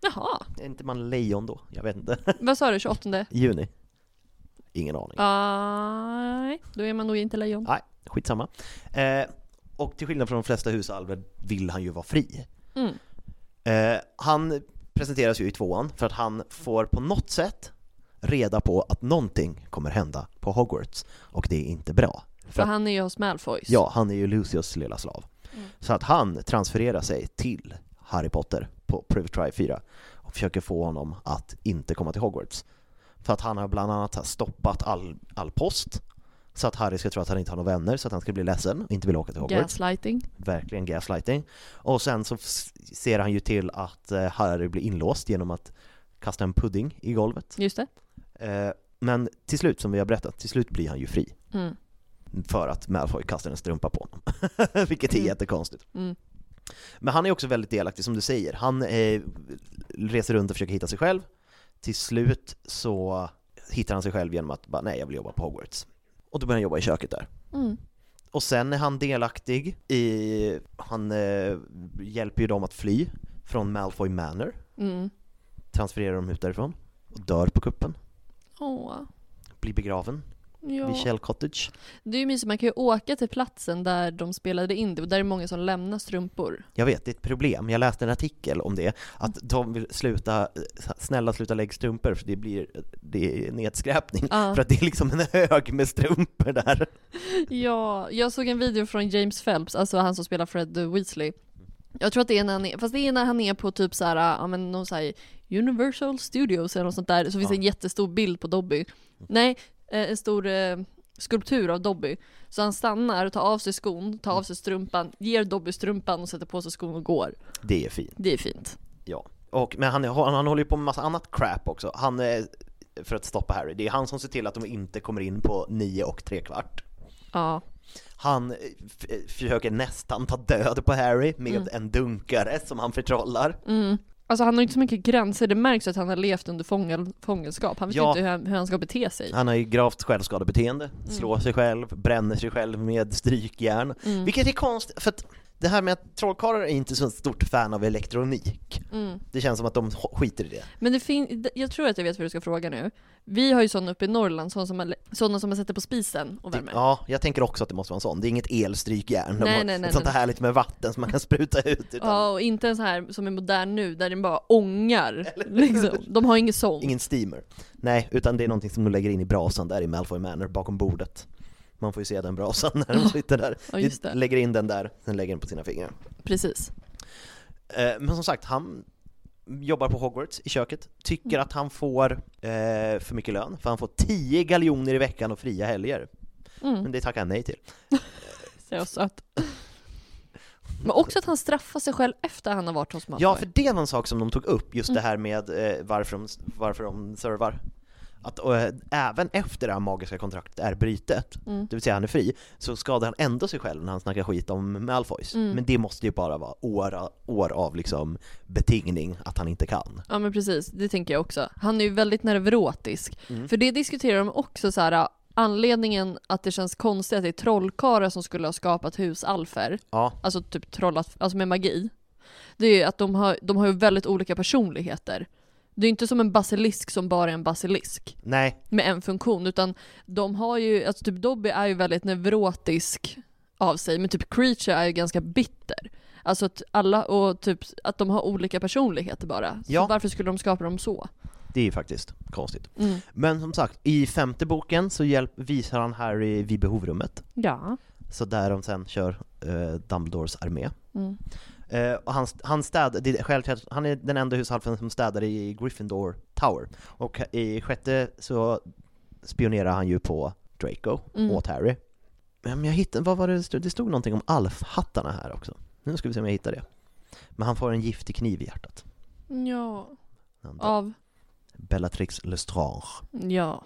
Speaker 2: Jaha,
Speaker 3: Är inte man lejon då? Jag vet inte.
Speaker 2: vad sa du, 28?
Speaker 3: juni. Ingen aning.
Speaker 2: Nej, då är man nog inte lejon.
Speaker 3: Nej, skitsamma. Eh, och till skillnad från de flesta husalver vill han ju vara fri. Eh, han presenteras ju i tvåan för att han får på något sätt reda på att någonting kommer hända på Hogwarts och det är inte bra. För
Speaker 2: För
Speaker 3: att,
Speaker 2: han är ju hos Malfoys.
Speaker 3: ja, han är ju Lucius lilla slav. Så att han transfererar sig till Harry Potter på Private Try 4 och försöker få honom att inte komma till Hogwarts. För att han har bland annat har stoppat all, all post så att Harry ska tro att han inte har några vänner så att han ska bli ledsen och inte vill åka till Hogwarts
Speaker 2: Gaslighting.
Speaker 3: verkligen gaslighting. Och sen så f- ser han ju till att eh, Harry blir inlåst genom att kasta en pudding i golvet.
Speaker 2: Just det.
Speaker 3: Eh, Men till slut, som vi har berättat, till slut blir han ju fri.
Speaker 2: Mm.
Speaker 3: För att Malfoy kastar en strumpa på honom. Vilket är jättekonstigt.
Speaker 2: Mm.
Speaker 3: Men han är också väldigt delaktig, som du säger. Han eh, reser runt och försöker hitta sig själv. Till slut så hittar han sig själv genom att bara, nej jag vill jobba på Hogwarts. Och då börjar han jobba i köket där.
Speaker 2: Mm.
Speaker 3: Och sen är han delaktig i, han eh, hjälper ju dem att fly från Malfoy Manor,
Speaker 2: Mm.
Speaker 3: transfererar dem ut därifrån och dör på kuppen,
Speaker 2: Åh.
Speaker 3: blir begraven
Speaker 2: Ja.
Speaker 3: vid Shell Cottage.
Speaker 2: Det är ju mysigt, man kan ju åka till platsen där de spelade in det och där är många som lämnar strumpor.
Speaker 3: Jag vet, det är ett problem. Jag läste en artikel om det, att
Speaker 2: Mm.
Speaker 3: de vill sluta, snälla sluta lägga strumpor för det blir, det är nedskräpning.
Speaker 2: Ja.
Speaker 3: För att det är liksom en hög med strumpor där.
Speaker 2: Ja, jag såg en video från James Phelps, alltså han som spelar Fred Weasley. Jag tror att det är när han är, fast det är när han är på typ så här, ja men någon så här Universal Studios eller något sånt där, så finns det en jättestor bild på Dobby. Nej, eh, en stor eh, skulptur av Dobby. Så han stannar, tar av sig skon, tar av sig strumpan, ger Dobby strumpan och sätter på sig skon och går.
Speaker 3: Det är fint.
Speaker 2: Det är fint.
Speaker 3: Ja, och, men han, han, han håller ju på med massa annat crap också. Han, eh, för att stoppa Harry, det är han som ser till att de inte kommer in på nio och tre kvart.
Speaker 2: Ja.
Speaker 3: Han eh, f- eh, försöker nästan ta död på Harry med
Speaker 2: Mm.
Speaker 3: en dunkare som han förtrollar.
Speaker 2: Alltså han har ju inte så mycket gränser, det märks ju att han har levt under fångel, fångenskap. Han vet ju
Speaker 3: Ja.
Speaker 2: inte hur han, hur han ska bete sig.
Speaker 3: Han har ju gravt självskadebeteende,
Speaker 2: Mm.
Speaker 3: slår sig själv, bränner sig själv med strykjärn.
Speaker 2: Mm.
Speaker 3: Vilket är konstigt, för att det här med att trollkarlar är inte så stort fan av elektronik.
Speaker 2: Mm.
Speaker 3: Det känns som att de skiter i det.
Speaker 2: Men det fin- jag tror att jag vet vad du ska fråga nu. Vi har ju sådana uppe i Norrland, sådana som man, sådana som man sätter på spisen och värmer.
Speaker 3: Ja, jag tänker också att det måste vara en sån. Det är inget elstrykjärn,
Speaker 2: Nej,
Speaker 3: nej,
Speaker 2: nej,
Speaker 3: nej,
Speaker 2: nej,
Speaker 3: ett sånt
Speaker 2: nej.
Speaker 3: här härligt med vatten som man kan spruta ut. Utan
Speaker 2: Ja, och inte en sån här som är modern nu, där den bara ångar. Liksom. De har ingen sån.
Speaker 3: Ingen steamer. Nej, utan det är någonting som de lägger in i brasan där i Malfoy Manor, bakom bordet. Man får ju se den brasan när de sitter där.
Speaker 2: ja, just det.
Speaker 3: De lägger in den där, sen lägger den på sina fingrar.
Speaker 2: Precis.
Speaker 3: Eh, Men som sagt, han jobbar på Hogwarts i köket, tycker att han får eh, för mycket lön, för han får 10 galjoner i veckan och fria helger. Men det tackar han nej till.
Speaker 2: Så jag söt. Men också att han straffar sig själv efter han har varit hos Malfoy.
Speaker 3: Ja, för det var en sak som de tog upp, just det här med eh, varför, de, varför de servar. Att eh, även efter det här magiska kontraktet är brytet, det vill säga han är fri, så skadar han ändå sig själv när han snackar skit om Malfoys. Men det måste ju bara vara år, år av liksom betingning att han inte kan.
Speaker 2: Ja men precis, det tänker jag också. Han är ju väldigt nervrotisk.
Speaker 3: Mm.
Speaker 2: För det diskuterar de också så här. anledningen att det känns konstigt att det är trollkarlar som skulle ha skapat husalfer.
Speaker 3: Ja,
Speaker 2: alltså typ trollat, alltså med magi, det är ju att de har, de har ju väldigt olika personligheter. Det är inte som en basilisk som bara är en basilisk
Speaker 3: nej,
Speaker 2: med en funktion, utan de har ju, alltså typ Dobby är ju väldigt neurotisk av sig, men typ Creature är ju ganska bitter. Alltså att alla, och typ att de har olika personligheter bara. Så
Speaker 3: Ja.
Speaker 2: varför skulle de skapa dem så?
Speaker 3: det är ju faktiskt konstigt. Men som sagt, i femte boken så hjälp, visar han Harry vid behovrummet.
Speaker 2: Ja.
Speaker 3: Så där de sen kör eh, Dumbledores armé. Eh, och han, han, städ, det är, självklart- han är den enda husalfen som städar i Gryffindor Tower. Och i sjätte så spionerar han ju på Draco åt Harry. Men jag hittade, vad var det, det stod- det stod någonting om alfhattarna här också. Nu ska vi se om jag hittar det. Men han får en giftig kniv i hjärtat.
Speaker 2: Ja.
Speaker 3: Han dör.
Speaker 2: Av?
Speaker 3: Bellatrix Lestrange.
Speaker 2: Ja.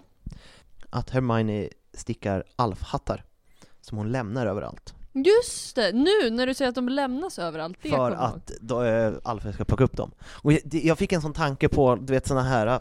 Speaker 3: att Hermione stickar alfhattar som hon lämnar överallt.
Speaker 2: Just det! Nu när du säger att de lämnas överallt, det
Speaker 3: för
Speaker 2: kommer jag ihåg.
Speaker 3: att då, äh, alfen ska plocka upp dem. Och jag, det- jag fick en sån tanke på, du vet såna här äh,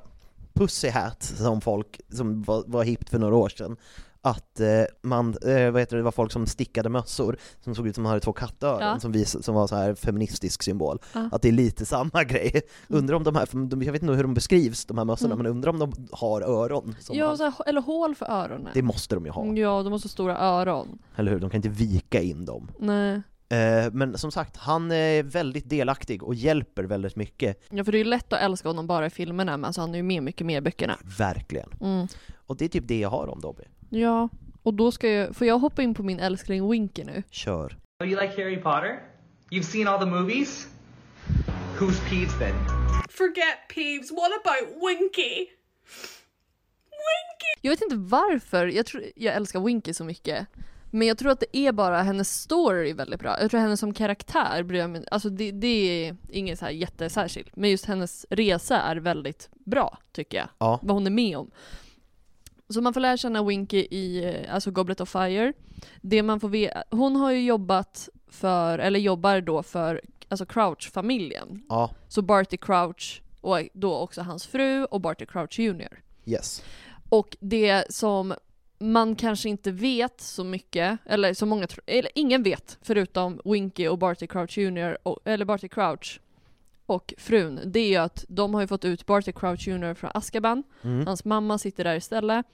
Speaker 3: pussy hats som folk, som var, var hippt för några år sedan. Att eh, man, eh, vad heter det, det var folk som stickade mössor som såg ut som hade två kattöron
Speaker 2: Ja.
Speaker 3: som, vis, som var så här feministisk symbol.
Speaker 2: Ja.
Speaker 3: Att det är lite samma grej. Undrar om de här, för de- jag vet inte hur de beskrivs de här mössorna, men undrar om de har öron. Som
Speaker 2: Mm. Ja,
Speaker 3: man,
Speaker 2: så Mm. här, eller hål för öronen.
Speaker 3: det måste de ju ha,
Speaker 2: Ja, de har så stora öron.
Speaker 3: eller hur? De kan inte vika in dem.
Speaker 2: Nej.
Speaker 3: Eh, Men som sagt, han är väldigt delaktig och hjälper väldigt mycket,
Speaker 2: Ja, för det är ju lätt att älska honom bara i filmerna, men alltså han är ju med mycket mer i böckerna.
Speaker 3: verkligen.
Speaker 2: Mm.
Speaker 3: Och det är typ det jag har om Dobby.
Speaker 2: Ja, och då ska jag... Får jag hoppa in på min älskling Winky nu?
Speaker 3: Kör.
Speaker 8: Oh, you like Harry Potter? You've seen all the movies? Who's Peeves then?
Speaker 9: Forget Peeves. What about Winky?
Speaker 2: Jag vet inte varför, jag, tror, jag älskar Winky så mycket. Men jag tror att det är bara hennes story väldigt bra. Jag tror henne som karaktär bryr jag mig Alltså det, det är ingen så här jättesärskild. Men just hennes resa är väldigt bra tycker jag.
Speaker 3: Ja.
Speaker 2: Vad hon är med om. Så man får lära känna Winky i eh, alltså Goblet of Fire. Det man får veta, hon har ju jobbat för, eller jobbar då för, alltså Crouch-familjen.
Speaker 3: Ja,
Speaker 2: Så Barty Crouch och då också hans fru och Barty Crouch Jr.
Speaker 3: yes.
Speaker 2: Och det som man kanske inte vet så mycket, eller som många tror, eller ingen vet förutom Winky och Barty Crouch Jr, och, eller Barty Crouch och frun, det är ju att de har ju fått ut Barty Crouch Jr från Azkaban,
Speaker 3: Mm.
Speaker 2: hans mamma sitter där istället,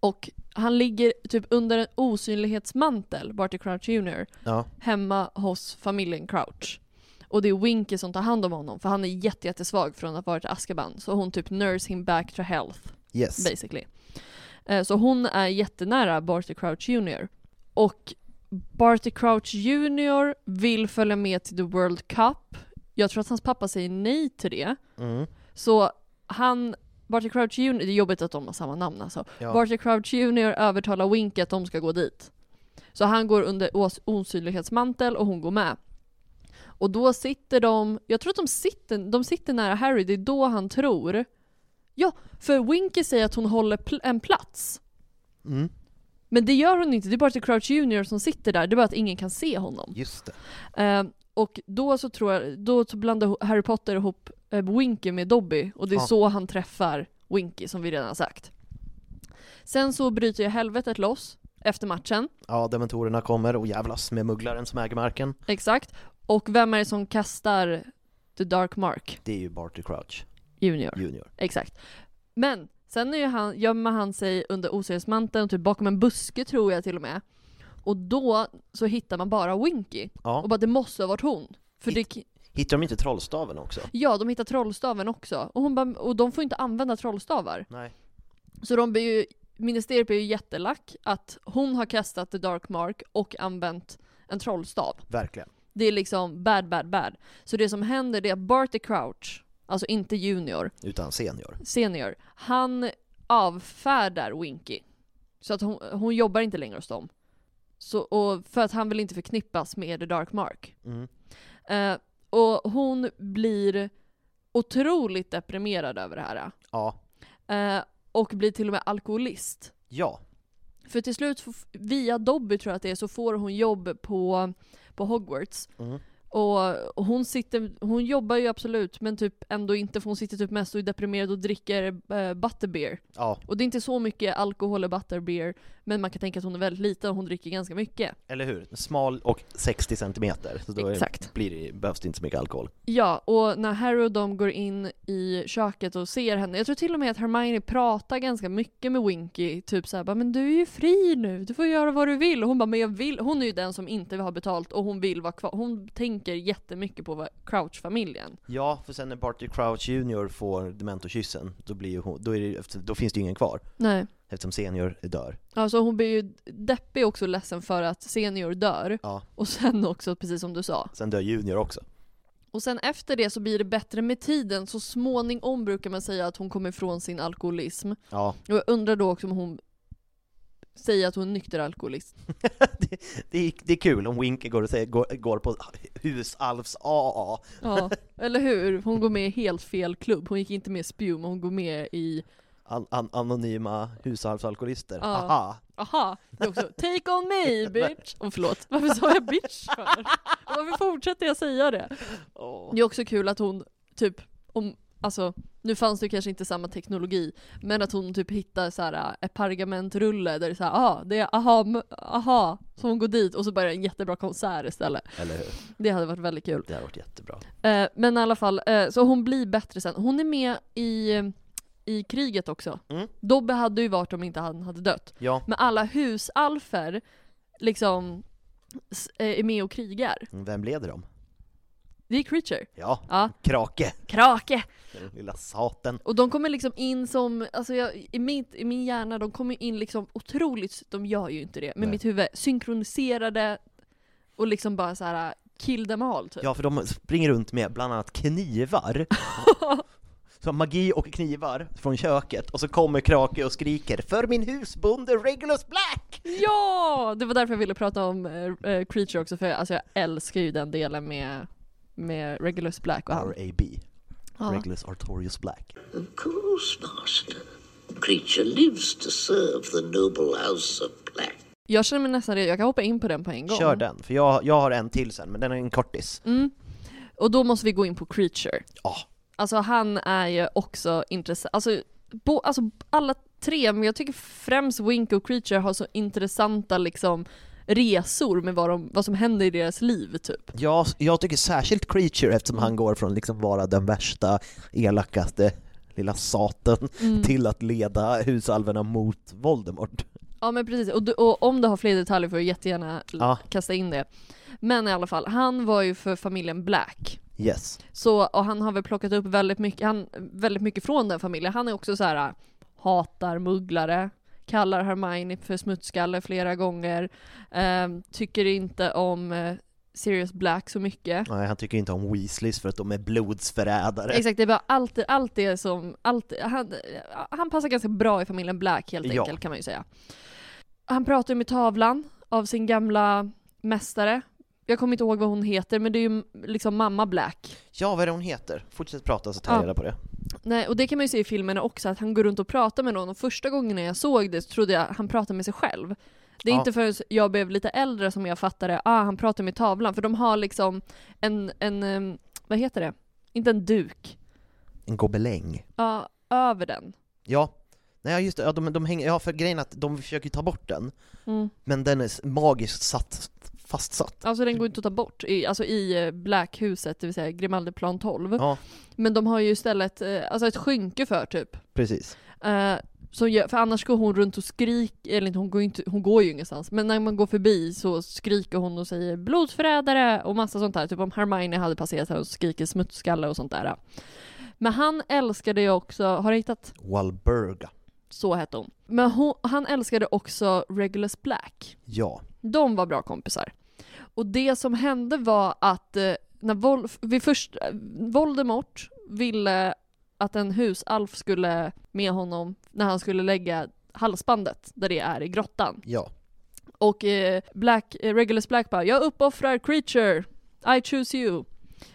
Speaker 2: och han ligger typ under en osynlighetsmantel, Barty Crouch Jr,
Speaker 3: Ja.
Speaker 2: hemma hos familjen Crouch. Och det är Winky som tar hand om honom, för han är jätte, jättesvag från att ha varit i Azkaban, så hon typ nurse him back to health
Speaker 3: Yes.
Speaker 2: basically. Eh, Så hon är jättenära Barty Crouch Jr. Och Barty Crouch Jr vill följa med till The World Cup. Jag tror att hans pappa säger nej till det.
Speaker 3: Mm.
Speaker 2: Så han, Barty Crouch Jr, det är jobbigt att de har samma namn alltså.
Speaker 3: Ja.
Speaker 2: Barty Crouch Jr övertalar Wink att de ska gå dit. Så han går under os- osynlighetsmantel och hon går med. Och då sitter de, jag tror att de sitter, de sitter nära Harry, det är då han tror. Ja, för Winky säger att hon håller pl- en plats.
Speaker 3: Mm.
Speaker 2: Men det gör hon inte, det är bara att det är Crouch Jr som sitter där, det är bara att ingen kan se honom.
Speaker 3: Just det.
Speaker 2: Eh, och då så tror jag, då så blandar ho- Harry Potter ihop eh, Winky med Dobby och det är
Speaker 3: Ja.
Speaker 2: så han träffar Winky som vi redan har sagt. Sen så bryter ju helvetet loss efter matchen,
Speaker 3: Ja, dementorerna kommer och jävlas med mugglaren som äger marken.
Speaker 2: exakt. Och vem är det som kastar The Dark Mark?
Speaker 3: Det är ju Barty Crouch
Speaker 2: Junior.
Speaker 3: Junior.
Speaker 2: Exakt. Men sen är ju han, gömmer han sig under osynlighetsmanteln, typ bakom en buske tror jag till och med. Och då så hittar man bara Winky. Och
Speaker 3: Ja.
Speaker 2: bara det måste ha varit hon. För det,
Speaker 3: Hittar de inte trollstaven också?
Speaker 2: ja, de hittar trollstaven också. Och, hon bara, och de får inte använda trollstavar.
Speaker 3: Nej.
Speaker 2: Så de blir ju, ministeriet blir ju jättelack att hon har kastat the dark mark och använt en trollstav.
Speaker 3: Verkligen.
Speaker 2: Det är liksom bad, bad, bad. Så det som händer det är att Barty Crouch, alltså inte Junior,
Speaker 3: Utan senior.
Speaker 2: senior, han avfärdar Winky. Så att hon, hon jobbar inte längre hos dem. Så, och för att han vill inte förknippas med The Dark Mark.
Speaker 3: Mm.
Speaker 2: Eh, och hon blir otroligt deprimerad över det här.
Speaker 3: Ja.
Speaker 2: Eh, och blir till och med alkoholist.
Speaker 3: Ja.
Speaker 2: För till slut, så f- via Dobby tror jag att det är, så får hon jobb på, på Hogwarts.
Speaker 3: Mm.
Speaker 2: Och och hon, sitter, hon jobbar ju absolut, men typ ändå inte för hon sitter typ mest och är deprimerad och dricker eh, butterbeer.
Speaker 3: Ja.
Speaker 2: Och det är inte så mycket alkohol i butterbeer, men man kan tänka att hon är väldigt liten och hon dricker ganska mycket.
Speaker 3: Eller hur? Smal och 60 centimeter. Så då är,
Speaker 2: Exakt.
Speaker 3: Blir det, behövs det inte så mycket alkohol.
Speaker 2: Ja, och när Harry och de går in i köket och ser henne, jag tror till och med att Hermione pratar ganska mycket med Winky, typ såhär bara, men du är ju fri nu, du får göra vad du vill. Och hon bara, men jag vill, hon är ju den som inte har betalt och hon vill vara kvar. Hon tänker jättemycket på vad- Crouch-familjen.
Speaker 3: Ja, för sen när Barty Crouch Junior får dementorkyssen, då, blir ju hon, då, är det, efter- då finns det ju ingen kvar.
Speaker 2: Nej.
Speaker 3: Eftersom senior dör.
Speaker 2: Alltså hon blir ju deppig också och ledsen för att Senior dör.
Speaker 3: Ja.
Speaker 2: Och sen också, precis som du sa,
Speaker 3: Sen dör Junior också.
Speaker 2: Och sen efter det så blir det bättre med tiden, så småningom brukar man säga att hon kommer ifrån sin alkoholism.
Speaker 3: Ja,
Speaker 2: Och jag undrar då också om hon säger att hon är nykter alkoholist.
Speaker 3: det är, det är kul om Winky går och säger, går, går på husalvs AA.
Speaker 2: Ja, eller hur? Hon går med i helt fel klubb. Hon gick inte med i Spjum, hon går med i,
Speaker 3: An, an, anonyma husalvsalkoholister.
Speaker 2: Ja.
Speaker 3: Aha!
Speaker 2: aha, det är också Take on me bitch! Och förlåt, varför sa jag bitch för? Och Varför fortsätter jag säga det? Det är också kul att hon typ, om, alltså nu fanns det ju kanske inte samma teknologi, men att hon typ hittar så här ett pergamentrulle där det är såhär, ah, det är aha, m- aha, så hon går dit och så börjar en jättebra konsert istället.
Speaker 3: Eller hur?
Speaker 2: Det hade varit väldigt kul.
Speaker 3: Det här har varit jättebra.
Speaker 2: Eh, men i alla fall, eh, så hon blir bättre sen. Hon är med i, i kriget också.
Speaker 3: Mm.
Speaker 2: Dobbe hade ju varit om inte han hade dött.
Speaker 3: Ja,
Speaker 2: Men alla husalfer liksom s- eh, är med och krigar.
Speaker 3: vem leder dem?
Speaker 2: Det är Creature.
Speaker 3: Ja,
Speaker 2: Ja,
Speaker 3: Krake,
Speaker 2: Krake!
Speaker 3: den lilla saten.
Speaker 2: Och de kommer liksom in som, alltså jag, i, mitt, i min hjärna, de kommer in liksom otroligt, de gör ju inte det, men
Speaker 3: Nej.
Speaker 2: mitt huvud, synkroniserade och liksom bara så här kill them all typ.
Speaker 3: Ja, för de springer runt med bland annat knivar. Så magi och knivar från köket, och så kommer Krake och skriker 'För min husbonde Regulus Black!'
Speaker 2: Ja! Det var därför jag ville prata om eh, eh, Creature också, för jag, alltså jag älskar ju den delen med, med Regulus Black och han.
Speaker 3: R.A.B.
Speaker 2: Ja.
Speaker 3: Regulus Artorius Black.
Speaker 10: Of course, master. The creature lives to serve the noble house of Black.
Speaker 2: Jag känner mig nästan redo, jag kan hoppa in på den på en gång.
Speaker 3: Kör den, för jag, jag har en till sen, men den är en kortis.
Speaker 2: Mm. Och då måste vi gå in på Creature.
Speaker 3: Ja.
Speaker 2: Alltså han är ju också intressant, alltså, bo, alltså alla tre, men jag tycker främst Wink och Creature har så intressanta liksom resor med vad, de, vad som händer i deras liv typ.
Speaker 3: Jag, jag tycker särskilt Creature eftersom han går från liksom vara den värsta, elakaste lilla saten
Speaker 2: Mm.
Speaker 3: till att leda husalverna mot Voldemort.
Speaker 2: Ja men precis, och, du, och om du har fler detaljer får du jättegärna l-
Speaker 3: Ja.
Speaker 2: kasta in det. Men i alla fall, han var ju för familjen Black.
Speaker 3: Yes.
Speaker 2: Så, och han har väl plockat upp väldigt mycket, han, väldigt mycket från den familjen. Han är också så här äh, hatar mugglare, kallar Hermione för smutskalle flera gånger, ehm, tycker inte om eh, Sirius Black så mycket.
Speaker 3: Nej, han tycker inte om Weasleys för att de är blodsförrädare.
Speaker 2: Exakt, det är bara allt, allt det som, allt, han, eh, han passar ganska bra i familjen Black helt
Speaker 3: Ja.
Speaker 2: enkelt kan man ju säga. Han pratar ju med tavlan av sin gamla mästare. Jag kommer inte ihåg vad hon heter, men det är ju liksom mamma Black.
Speaker 3: Ja, vad är det hon heter? Fortsätt prata så tar jag
Speaker 2: Ja.
Speaker 3: reda på det.
Speaker 2: Nej, och det kan man ju se i filmerna också, att han går runt och pratar med någon och första gången när jag såg det så trodde jag han pratade med sig själv. Det är
Speaker 3: Ja.
Speaker 2: inte förrän jag blev lite äldre som jag fattade, ah han pratar med tavlan, för de har liksom en, en em, vad heter det? Inte en duk,
Speaker 3: En gobeläng.
Speaker 2: ja, över den.
Speaker 3: Ja. Nej, just det. Ja, de, de hänger, ja, för grejen är att de försöker ju ta bort den,
Speaker 2: Mm.
Speaker 3: men den är s- magiskt satt, fastsatt.
Speaker 2: Alltså den går inte att ta bort, i, alltså i eh, Blackhuset, det vill säga Grimaldiplan 12.
Speaker 3: Ja,
Speaker 2: Men de har ju istället eh, alltså ett skynke för typ.
Speaker 3: precis.
Speaker 2: Eh, som gör, för annars går hon runt och skriker, eller inte, hon, går ju inte, hon går ju ingenstans, men när man går förbi så skriker hon och säger blodsförrädare och massa sånt där. Typ om Hermione hade passerat henne och skriker smutskalle och sånt där. Men han älskade ju också, har jag hittat?
Speaker 3: Walburga.
Speaker 2: Så hette hon. Men hon, han älskade också Regulus Black.
Speaker 3: Ja.
Speaker 2: De var bra kompisar. Och det som hände var att eh, när Vol- vi först, eh, Voldemort ville att en husalf skulle med honom när han skulle lägga halsbandet där det är i grottan.
Speaker 3: Ja.
Speaker 2: Och eh, Black, eh, Regulus Black bara “Jag uppoffrar Creature, I choose you”.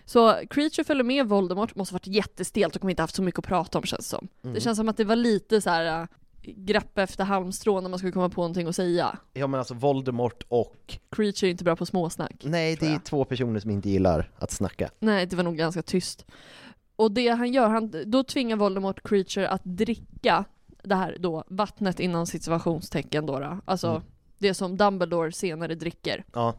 Speaker 2: Så Creature följer med Voldemort, måste varit jättestelt och kommer inte haft så mycket att prata om känns det som.
Speaker 3: Mm.
Speaker 2: Det känns som att det var lite så här eh, grepp efter halmstrån när man skulle komma på någonting att säga.
Speaker 3: Ja men alltså Voldemort och...
Speaker 2: Creature är inte bra på småsnack.
Speaker 3: Nej, det är två personer som inte gillar att snacka.
Speaker 2: Nej, det var nog ganska tyst. Och det han gör, han, då tvingar Voldemort Creature att dricka det här då, vattnet innan situationstecken då, då. Alltså
Speaker 3: Mm.
Speaker 2: det som Dumbledore senare dricker.
Speaker 3: Ja.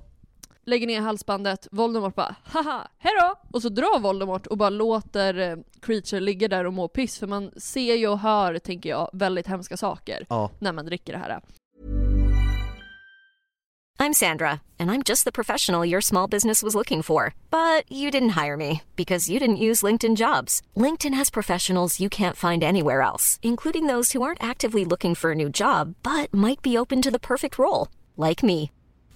Speaker 2: Lägger ner halsbandet, Voldemort bara haha, hejdå! Och så drar Voldemort och bara låter eh, Creature ligga där och må piss för man ser ju och hör, tänker jag, väldigt hemska saker
Speaker 3: Ja.
Speaker 2: när man dricker det här.
Speaker 11: I'm Sandra, and I'm just the professional your small business was looking for. But you didn't hire me because you didn't use LinkedIn jobs. LinkedIn has professionals you can't find anywhere else, including those who aren't actively looking for a new job but might be open to the perfect role, like me.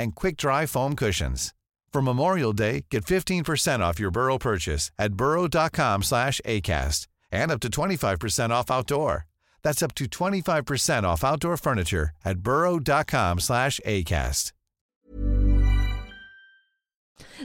Speaker 12: and quick-dry foam cushions. For Memorial Day, get 15% off your Burrow purchase at burrow.com slash acast and up to 25% off outdoor. That's up to 25% off outdoor furniture at burrow.com slash acast.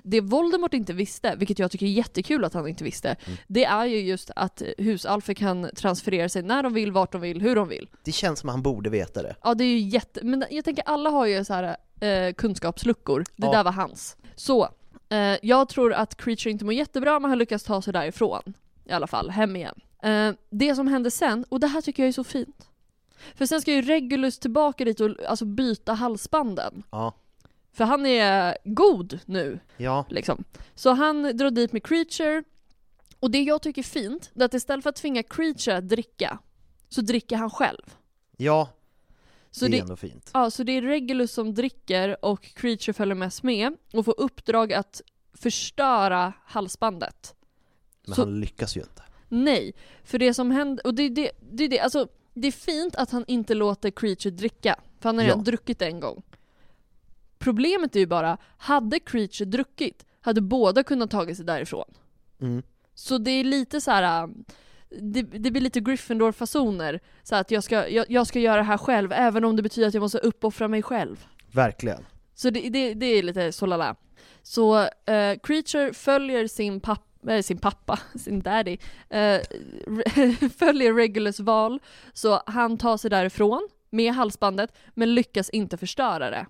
Speaker 2: Det Voldemort inte visste, vilket jag tycker är jättekul att han inte visste, det är ju just att husalfer kan transferera sig när de vill, vart de vill, hur de vill.
Speaker 3: Det känns som att han borde veta det.
Speaker 2: Ja det är ju jätte, men jag tänker alla har ju så här eh, kunskapsluckor. Det
Speaker 3: Ja.
Speaker 2: där var hans. Så, eh, jag tror att Creature inte mår jättebra men han lyckas ta sig därifrån. I alla fall, hem igen. Eh, det som hände sen, och det här tycker jag är så fint. För sen ska ju Regulus tillbaka dit och alltså byta halsbanden.
Speaker 3: Ja.
Speaker 2: För han är god nu.
Speaker 3: Ja.
Speaker 2: Liksom. Så han drar dit med Creature, och det jag tycker är fint, det är att istället för att tvinga Creature att dricka, så dricker han själv.
Speaker 3: Ja.
Speaker 2: Så
Speaker 3: det är ändå fint.
Speaker 2: Ja, så det är Regulus som dricker och Creature följer mest med och får uppdrag att förstöra halsbandet.
Speaker 3: Men
Speaker 2: så-
Speaker 3: han lyckas ju inte.
Speaker 2: Nej, för det som händer, och det är det, det, är det, alltså det är fint att han inte låter Creature dricka, för han har
Speaker 3: Ja.
Speaker 2: redan druckit en gång. Problemet är ju bara, hade Creature druckit, hade båda kunnat tagit sig därifrån.
Speaker 3: Mm.
Speaker 2: Så det är lite så här. äh, Det, det blir lite Gryffindor-fasoner. Så att jag ska, jag, jag ska göra det här själv, även om det betyder att jag måste uppoffra mig själv.
Speaker 3: Verkligen.
Speaker 2: Så det, det, det är lite solala. Så eh, Creature följer sin pappa, sin pappa, sin daddy, eh, re- följer Regulus val. Så han tar sig därifrån med halsbandet, men lyckas inte förstöra det.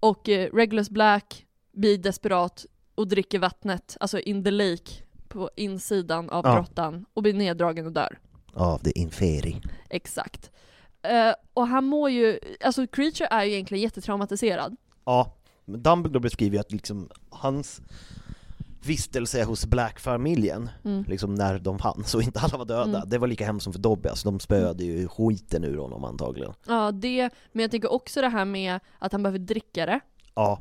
Speaker 2: Och eh, Regulus Black blir desperat och dricker vattnet, alltså in the lake, på insidan av
Speaker 3: Ja.
Speaker 2: grottan och blir neddragen och dör.
Speaker 3: Av det inferi.
Speaker 2: Exakt. Eh, och han mår ju, alltså Creature är ju egentligen jättetraumatiserad.
Speaker 3: Ja, men Dumbledore beskriver ju att liksom hans vistelse hos Black-familjen,
Speaker 2: Mm.
Speaker 3: liksom när de fanns och inte alla var döda,
Speaker 2: Mm.
Speaker 3: det var lika hemskt som för Dobby, alltså de spöade ju skiten ur honom antagligen.
Speaker 2: Ja, det, men jag tänker också det här med att han behöver dricka det.
Speaker 3: Ja,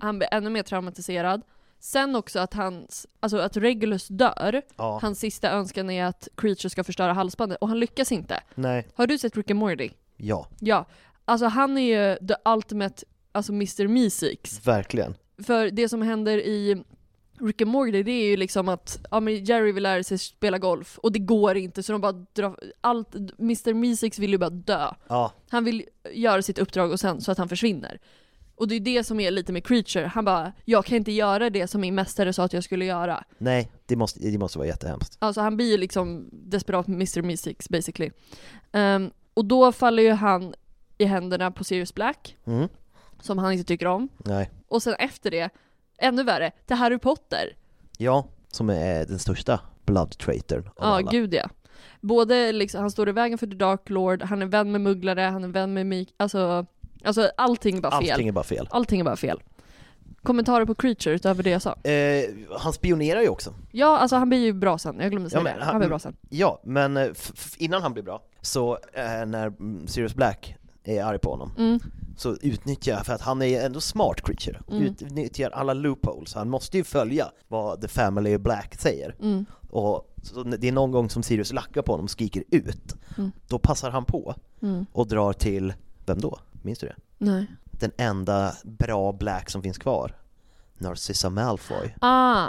Speaker 2: Han blir ännu mer traumatiserad. Sen också att hans, alltså att Regulus dör.
Speaker 3: Ja.
Speaker 2: Hans sista önskan är att Creature ska förstöra halsbandet, och han lyckas inte.
Speaker 3: nej,
Speaker 2: Har du sett Rick and Morty?
Speaker 3: ja,
Speaker 2: Ja. Alltså han är ju the ultimate, alltså Mr. Meeseeks.
Speaker 3: verkligen.
Speaker 2: För det som händer i Rick and Morty det är ju liksom att ja, men Jerry vill lära sig spela golf och det går inte så de bara drar, allt, Mr. Meeseeks vill ju bara dö.
Speaker 3: Ja,
Speaker 2: Han vill göra sitt uppdrag och sen så att han försvinner. Och det är det som är lite med Creature, han bara jag kan inte göra det som min mästare sa att jag skulle göra.
Speaker 3: nej, det måste, det måste vara jättehemskt.
Speaker 2: Alltså han blir ju liksom desperat Mr. Meeseeks basically. Ehm, och då faller ju han i händerna på Sirius Black,
Speaker 3: Mm.
Speaker 2: som han inte tycker om.
Speaker 3: Nej,
Speaker 2: Och sen efter det, ännu värre, till Harry Potter.
Speaker 3: ja, som är den största blood traitorn av
Speaker 2: Ja,
Speaker 3: alla.
Speaker 2: gud ja. Både liksom, han står i vägen för The Dark Lord, han är vän med mugglare, han är vän med Mik... Alltså, alltså allting är bara fel.
Speaker 3: Allting är bara fel.
Speaker 2: Allting är bara fel. Kommentarer på Creature utöver det jag sa?
Speaker 3: Eh, han spionerar ju också.
Speaker 2: Ja, alltså han blir ju bra sen. Jag glömde säga
Speaker 3: Ja, men
Speaker 2: det.
Speaker 3: han-
Speaker 2: Han blir bra sen.
Speaker 3: Ja, men eh, f- f- innan han blir bra, så eh, när mm, Sirius Black är arg på honom,
Speaker 2: Mm.
Speaker 3: så utnyttjar jag, för att han är ju ändå smart creature,
Speaker 2: Mm.
Speaker 3: utnyttjar alla loopholes, han måste ju följa vad the family black säger.
Speaker 2: Mm.
Speaker 3: Och så det är någon gång som Sirius lackar på honom och skriker ut,
Speaker 2: Mm.
Speaker 3: då passar han på
Speaker 2: Mm.
Speaker 3: och drar till, vem då? Minns du det?
Speaker 2: Nej.
Speaker 3: Den enda bra black som finns kvar, Narcissa Malfoy
Speaker 2: Ah!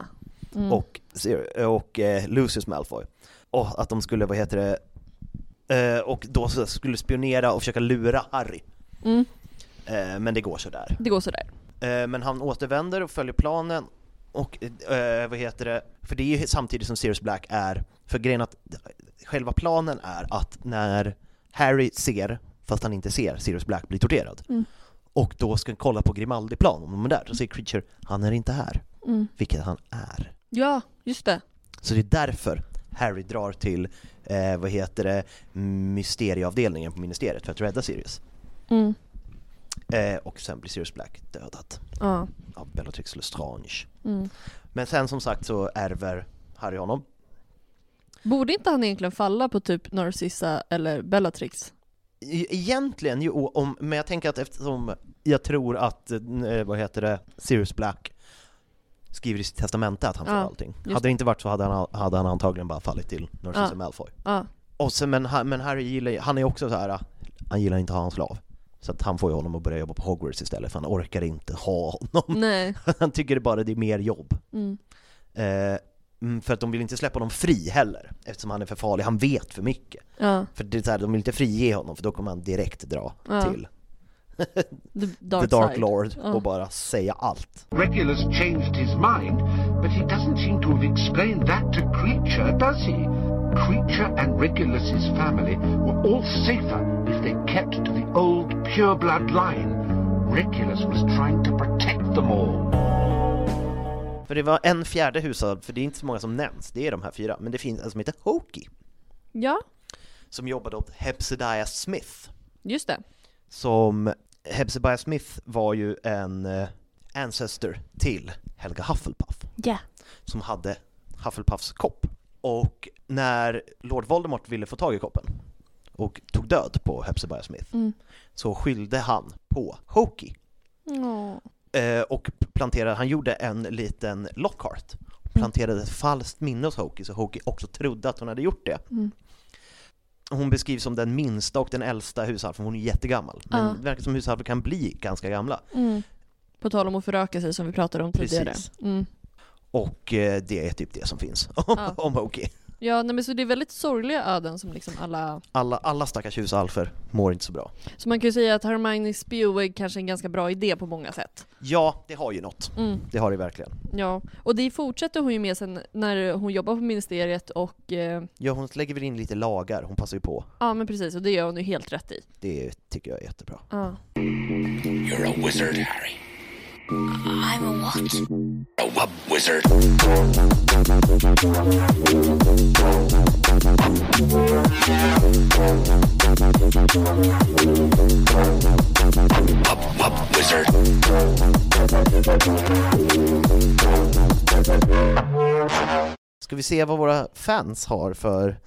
Speaker 2: Mm.
Speaker 3: och, Sir- och eh, Lucius Malfoy. Och att de skulle, vad heter det, eh, och då så skulle spionera och försöka lura Harry.
Speaker 2: Mm.
Speaker 3: Eh, men det går sådär.
Speaker 2: Det går sådär.
Speaker 3: Eh, men han återvänder och följer planen och eh, vad heter det, för det är ju samtidigt som Sirius Black är, för grejen att själva planen är att när Harry ser, fast han inte ser, Sirius Black blir torterad.
Speaker 2: Mm.
Speaker 3: Och då ska han kolla på Grimaldi-plan om de är där, så säger Creature han är inte här,
Speaker 2: Mm.
Speaker 3: vilket han är.
Speaker 2: Ja, just det.
Speaker 3: Så det är därför Harry drar till, eh, vad heter det, mysterieavdelningen på ministeriet för att rädda Sirius.
Speaker 2: Mm.
Speaker 3: Eh, och sen blir Sirius Black dödad
Speaker 2: Ja.
Speaker 3: av Bellatrix Lestrange.
Speaker 2: Mm.
Speaker 3: Men sen som sagt så ärver Harry honom.
Speaker 2: Borde inte han egentligen falla på typ Narcissa eller Bellatrix?
Speaker 3: E- Egentligen ju, o- om, men jag tänker att eftersom jag tror att, eh, vad heter det, Sirius Black skriver i sitt testamente att han får
Speaker 2: Ja,
Speaker 3: allting.
Speaker 2: just
Speaker 3: Hade det
Speaker 2: det.
Speaker 3: inte varit så hade han, hade han antagligen bara fallit till Narcissa
Speaker 2: Ja.
Speaker 3: Malfoy.
Speaker 2: Ja.
Speaker 3: Och sen, men, ha- men Harry gillar ju- han är också så här. äh, han gillar inte att ha en slav. Så att han får ju honom att börja jobba på Hogwarts istället för han orkar inte ha honom.
Speaker 2: Nej.
Speaker 3: Han tycker det bara det är mer jobb.
Speaker 2: Mm.
Speaker 3: Eh, mm, för att de vill inte släppa honom fri heller, eftersom han är för farlig, han vet för mycket.
Speaker 2: Ja.
Speaker 3: För det är så här, de vill inte frige honom för då kommer han direkt dra
Speaker 2: Ja.
Speaker 3: till
Speaker 2: The Dark,
Speaker 3: The Dark
Speaker 2: Side.
Speaker 3: Lord
Speaker 2: Ja.
Speaker 3: och bara säga allt.
Speaker 13: Regulus changed his mind, but he doesn't seem to have explained that to Creature, does he? Creature and Regulus's family were all safer if they kept to the old pureblood line. Regulus was trying to protect them all.
Speaker 3: För det var en fjärde hushåll, för det är inte så många som nämns, det är de här fyra, men det finns en som heter Hokey,
Speaker 2: Ja,
Speaker 3: som jobbade åt Hepsidiah Smith.
Speaker 2: just det.
Speaker 3: som Hepzibah Smith var ju en eh, ancestor till Helga Hufflepuff.
Speaker 5: Yeah.
Speaker 3: Som hade Hufflepuffs kopp. Och när Lord Voldemort ville få tag i koppen och tog död på Hepzibah Smith
Speaker 5: Mm.
Speaker 3: så skyllde han på Hokey.
Speaker 5: Åh.
Speaker 3: Eh, och planterade, han gjorde en liten Lockhart.
Speaker 2: Mm.
Speaker 3: Planterade ett falskt minne hos Hokey så Hokey också trodde att hon hade gjort det.
Speaker 5: Mm.
Speaker 3: Hon beskrivs som den minsta och den äldsta hushalfen, hon är jättegammal. Men
Speaker 2: Ja.
Speaker 3: det verkar som hushalvar kan bli ganska gamla.
Speaker 2: Mm. På tal om att föröka sig som vi pratade om tidigare.
Speaker 3: Precis.
Speaker 2: Mm.
Speaker 3: Och eh, det är typ det som finns
Speaker 2: Ja.
Speaker 3: om Hokey.
Speaker 2: Ja, nej, men så det är väldigt sorgliga öden som liksom alla...
Speaker 3: Alla, alla stackars hushalfer mår inte så bra.
Speaker 2: Så man kan ju säga att Hermione Spewig kanske är en ganska bra idé på många sätt.
Speaker 3: Ja, det har ju något.
Speaker 2: Mm.
Speaker 3: Det har det verkligen.
Speaker 2: Ja, och det fortsätter hon ju med sen när hon jobbar på ministeriet och... eh,
Speaker 3: Ja, hon lägger väl in lite lagar, hon passar ju på.
Speaker 2: Ja, men precis, och det gör hon ju helt rätt i.
Speaker 3: Det tycker jag är jättebra.
Speaker 2: Ja.
Speaker 14: You're a wizard, Harry.
Speaker 6: I'm a what?
Speaker 14: A wub wizard. Wub wub wizard.
Speaker 3: Ska vi se vad våra fans har för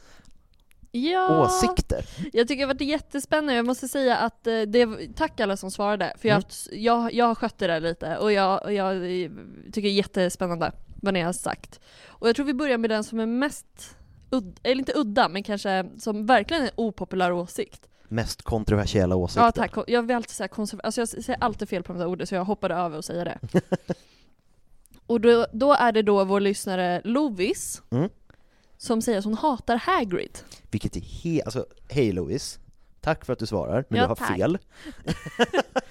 Speaker 2: Ja.
Speaker 3: åsikter?
Speaker 2: Jag tycker det har varit jättespännande, jag måste säga att eh, det, tack alla som svarade, för jag, har
Speaker 3: Mm.
Speaker 2: haft, jag, jag har skött det där lite och jag, och jag eh, tycker det är jättespännande vad ni har sagt. Och jag tror vi börjar med den som är mest, udd, eller inte udda, men kanske som verkligen är en opopulär åsikt.
Speaker 3: Mest kontroversiella åsikter?
Speaker 2: Ja tack, jag vill alltid säga konserv- alltså jag säger alltid fel på de där orden så jag hoppade över och säger det. och då, då är det då vår lyssnare Lovis
Speaker 3: Mm.
Speaker 2: som säger att hon hatar Hagrid.
Speaker 3: Vilket är helt... Alltså, hej Louise. Tack för att du svarar, men
Speaker 2: Ja,
Speaker 3: du har
Speaker 2: tack.
Speaker 3: fel.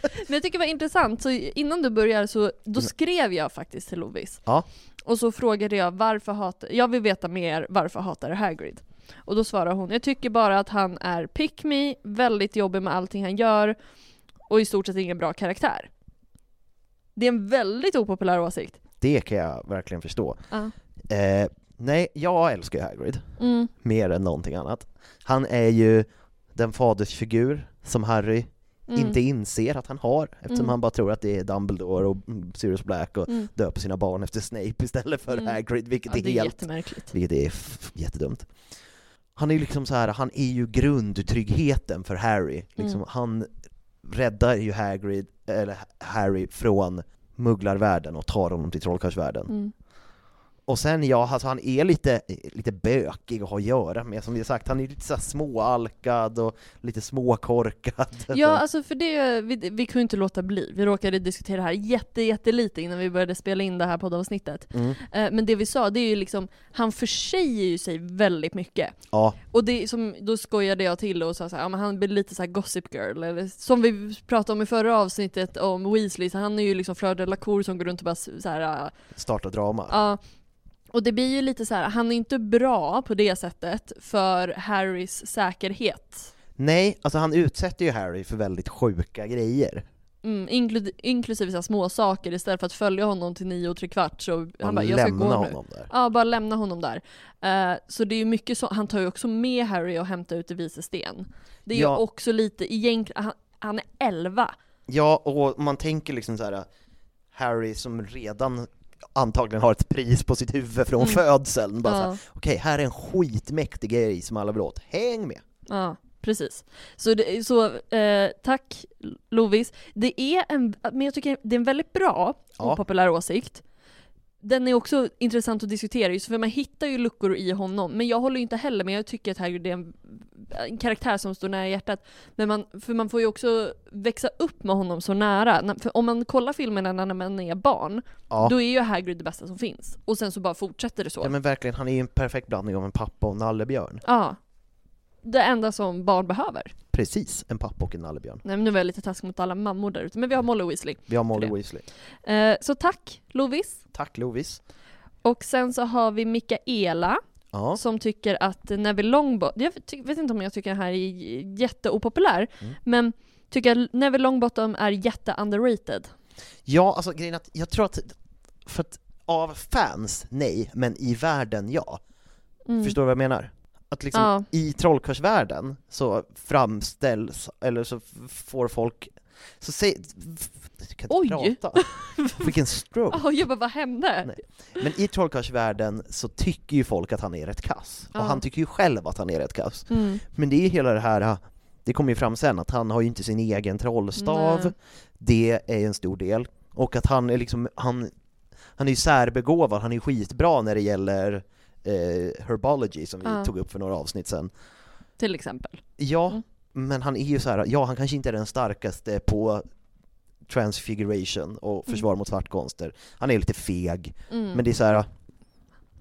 Speaker 2: Men jag tycker det var intressant, så innan du börjar så då skrev jag faktiskt till Lovis.
Speaker 3: Ja.
Speaker 2: Och så frågade jag varför hatar, jag vill veta mer, varför hatar du Hagrid? Och då svarar hon, jag tycker bara att han är pick me, väldigt jobbig med allting han gör och i stort sett ingen bra karaktär. Det är en väldigt opopulär åsikt.
Speaker 3: Det kan jag verkligen förstå.
Speaker 2: Ja.
Speaker 3: Eh, nej, jag älskar ju Hagrid.
Speaker 2: Mm.
Speaker 3: Mer än någonting annat. Han är ju den fadersfigur som Harry
Speaker 2: Mm.
Speaker 3: inte inser att han har eftersom
Speaker 2: Mm.
Speaker 3: han bara tror att det är Dumbledore och mm, Sirius Black och
Speaker 2: Mm.
Speaker 3: döper sina barn efter Snape istället för
Speaker 2: Mm.
Speaker 3: Hagrid, vilket
Speaker 2: Ja,
Speaker 3: är
Speaker 2: det är
Speaker 3: helt...
Speaker 2: jättemärkligt.
Speaker 3: Vilket är f- jättedumt. Han är ju liksom så här, han är ju grundtryggheten för Harry. Liksom,
Speaker 2: Mm.
Speaker 3: Han räddar ju Hagrid, eller Harry från mugglarvärlden och tar honom till trollkarlsvärlden.
Speaker 2: Mm.
Speaker 3: Och sen ja, alltså han är lite, lite bökig att ha att göra med som vi har sagt, han är lite så här småalkad och lite småkorkad.
Speaker 2: Ja, alltså för det, vi, vi kunde inte låta bli. Vi råkade diskutera det här jätte, jättelite innan vi började spela in det här poddavsnittet.
Speaker 3: Mm.
Speaker 2: Eh, Men det vi sa, det är ju liksom, han försäger ju sig väldigt mycket.
Speaker 3: Ja,
Speaker 2: Och det som, då skojade jag till och sa såhär, ja men han blir lite såhär gossip girl, eller som vi pratade om i förra avsnittet om Weasley, så han är ju liksom Fleur de la Cour som går runt och bara såhär,
Speaker 3: starta drama.
Speaker 2: ja. Och det blir ju lite så här, han är inte bra på det sättet för Harrys säkerhet.
Speaker 3: Nej, alltså han utsätter ju Harry för väldigt sjuka grejer.
Speaker 2: Mm, inklu- inklusive så här små saker istället för att följa honom till nio och tre kvart så han,
Speaker 3: Han
Speaker 2: bara, jag ska gå
Speaker 3: lämnar
Speaker 2: nu.
Speaker 3: honom där.
Speaker 2: Ja, bara lämna honom där. Eh, så det är ju mycket så, han tar ju också med Harry och hämtar ut i Vises sten. Det är
Speaker 3: Ja.
Speaker 2: ju också lite, egentligen, han, han är 11.
Speaker 3: Ja, och man tänker liksom så här Harry som redan antagligen har ett pris på sitt huvud från
Speaker 2: Mm.
Speaker 3: födseln. Bara
Speaker 2: Ja.
Speaker 3: så här, okej, här är en skitmäktig grej som alla vill åt. Häng med!
Speaker 2: Ja, precis. Så, det, så eh, tack Lovis. Det är en, men jag tycker det är en väldigt bra
Speaker 3: Ja.
Speaker 2: opopulär åsikt. Den är också intressant att diskutera just för man hittar ju luckor i honom. Men jag håller ju inte heller med, jag tycker att Hagrid är en, en karaktär som står nära hjärtat. Men man, för man får ju också växa upp med honom så nära. Na- För om man kollar filmerna när man är barn,
Speaker 3: Ja.
Speaker 2: då är ju Hagrid det bästa som finns. Och sen så bara fortsätter det så.
Speaker 3: Ja men verkligen, han är ju en perfekt blandning av en pappa och en nallebjörn.
Speaker 2: ja. Det enda som barn behöver.
Speaker 3: Precis, en pappa och en nallebjörn.
Speaker 2: Nej men nu var jag lite taskig mot alla mammor där ute, men vi har Molly Weasley.
Speaker 3: Vi har Molly
Speaker 2: För det.
Speaker 3: Weasley.
Speaker 2: Eh, så tack Lovis.
Speaker 3: Tack Lovis.
Speaker 2: Och sen så har vi Mikaela
Speaker 3: Ja.
Speaker 2: som tycker att Neville Longbottom, jag ty- vet inte om jag tycker den här är j- jätteopopulär,
Speaker 3: Mm.
Speaker 2: men tycker att Neville Longbottom är jätte-underrated.
Speaker 3: Ja, alltså grejen är att jag tror att, för att av fans, nej, men i världen, ja.
Speaker 2: Mm.
Speaker 3: Förstår du vad jag menar? Att liksom
Speaker 2: Ja.
Speaker 3: i trollkarlsvärlden så framställs, eller så f- får folk Så säg... Jag kan
Speaker 2: Oj.
Speaker 3: inte prata. Vilken stroke.
Speaker 2: Ja, jag bara, vad hände?
Speaker 3: Men i trollkarlsvärlden så tycker ju folk att han är rätt kass.
Speaker 2: Ja.
Speaker 3: Och han tycker ju själv att han är rätt kass.
Speaker 2: Mm.
Speaker 3: Men det är ju hela det här, ah, det kommer ju fram sen, att han har ju inte sin egen trollstav.
Speaker 2: Nej.
Speaker 3: Det är ju en stor del. Och att han är liksom, han, han är ju särbegåvad, han är ju skitbra när det gäller eh, herbology som vi
Speaker 2: Ja.
Speaker 3: tog upp för några avsnitt sen.
Speaker 2: Till exempel.
Speaker 3: Ja,
Speaker 2: Mm.
Speaker 3: men han är ju så här, ja han kanske inte är den starkaste på transfiguration och försvar mot svartkonster. Han är lite feg,
Speaker 2: Mm.
Speaker 3: men det är så här,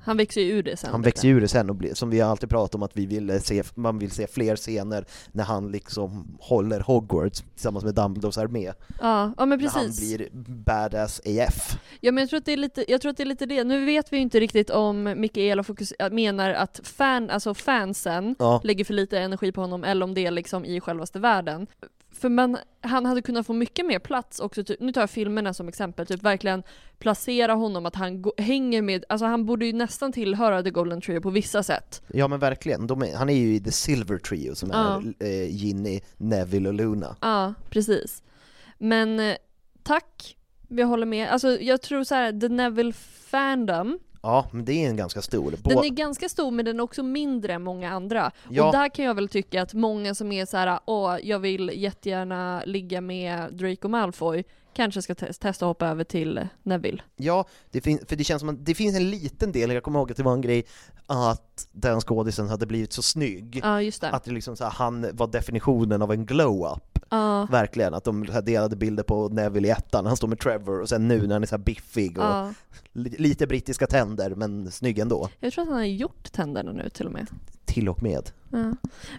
Speaker 2: Han växer ju ur det sen.
Speaker 3: han
Speaker 2: lite.
Speaker 3: växer ur det sen och blir, som vi alltid pratar om att vi vill se, man vill se fler scener när han liksom håller Hogwarts tillsammans med Dumbledores armé.
Speaker 2: Ja, ja men
Speaker 3: När han
Speaker 2: precis.
Speaker 3: blir badass AF.
Speaker 2: Ja, men jag, tror att det är lite, jag tror att det är lite det. Nu vet vi ju inte riktigt om Mikaela fokus, äh, menar att fan, alltså fansen
Speaker 3: Ja.
Speaker 2: lägger för lite energi på honom eller om det är liksom i självaste världen. För man, han hade kunnat få mycket mer plats också, typ, nu tar jag filmerna som exempel, typ verkligen placera honom att han gå- hänger med, alltså han borde ju nästan tillhöra The Golden Trio på vissa sätt.
Speaker 3: Ja men verkligen, De är, han är ju i The Silver Trio som
Speaker 2: Ja.
Speaker 3: är eh, Ginny, Neville och Luna.
Speaker 2: Ja, precis. Men eh, tack, jag håller med. Alltså jag tror så här, The Neville Fandom,
Speaker 3: Ja, men det är en ganska stor.
Speaker 2: Den
Speaker 3: Bå-
Speaker 2: är ganska stor men den är också mindre än många andra.
Speaker 3: Ja.
Speaker 2: Och där kan jag väl tycka att många som är så här, åh jag vill jättegärna ligga med Draco Malfoy, kanske ska te- testa att hoppa över till Neville.
Speaker 3: Ja, det fin- för det känns som att det finns en liten del, jag kommer ihåg att det var en grej att den skådisen hade blivit så snygg.
Speaker 2: Ja just det.
Speaker 3: Att det liksom så här, han var definitionen av en glow-up.
Speaker 2: Ja.
Speaker 3: Verkligen, att de så här delade bilder på Neville i ettan, han står med Trevor och sen nu när han är så här biffig och
Speaker 2: Ja.
Speaker 3: li- lite brittiska tänder men snygg ändå.
Speaker 2: Jag tror att han har gjort tänderna nu till och med.
Speaker 3: Till och med.
Speaker 2: Ja.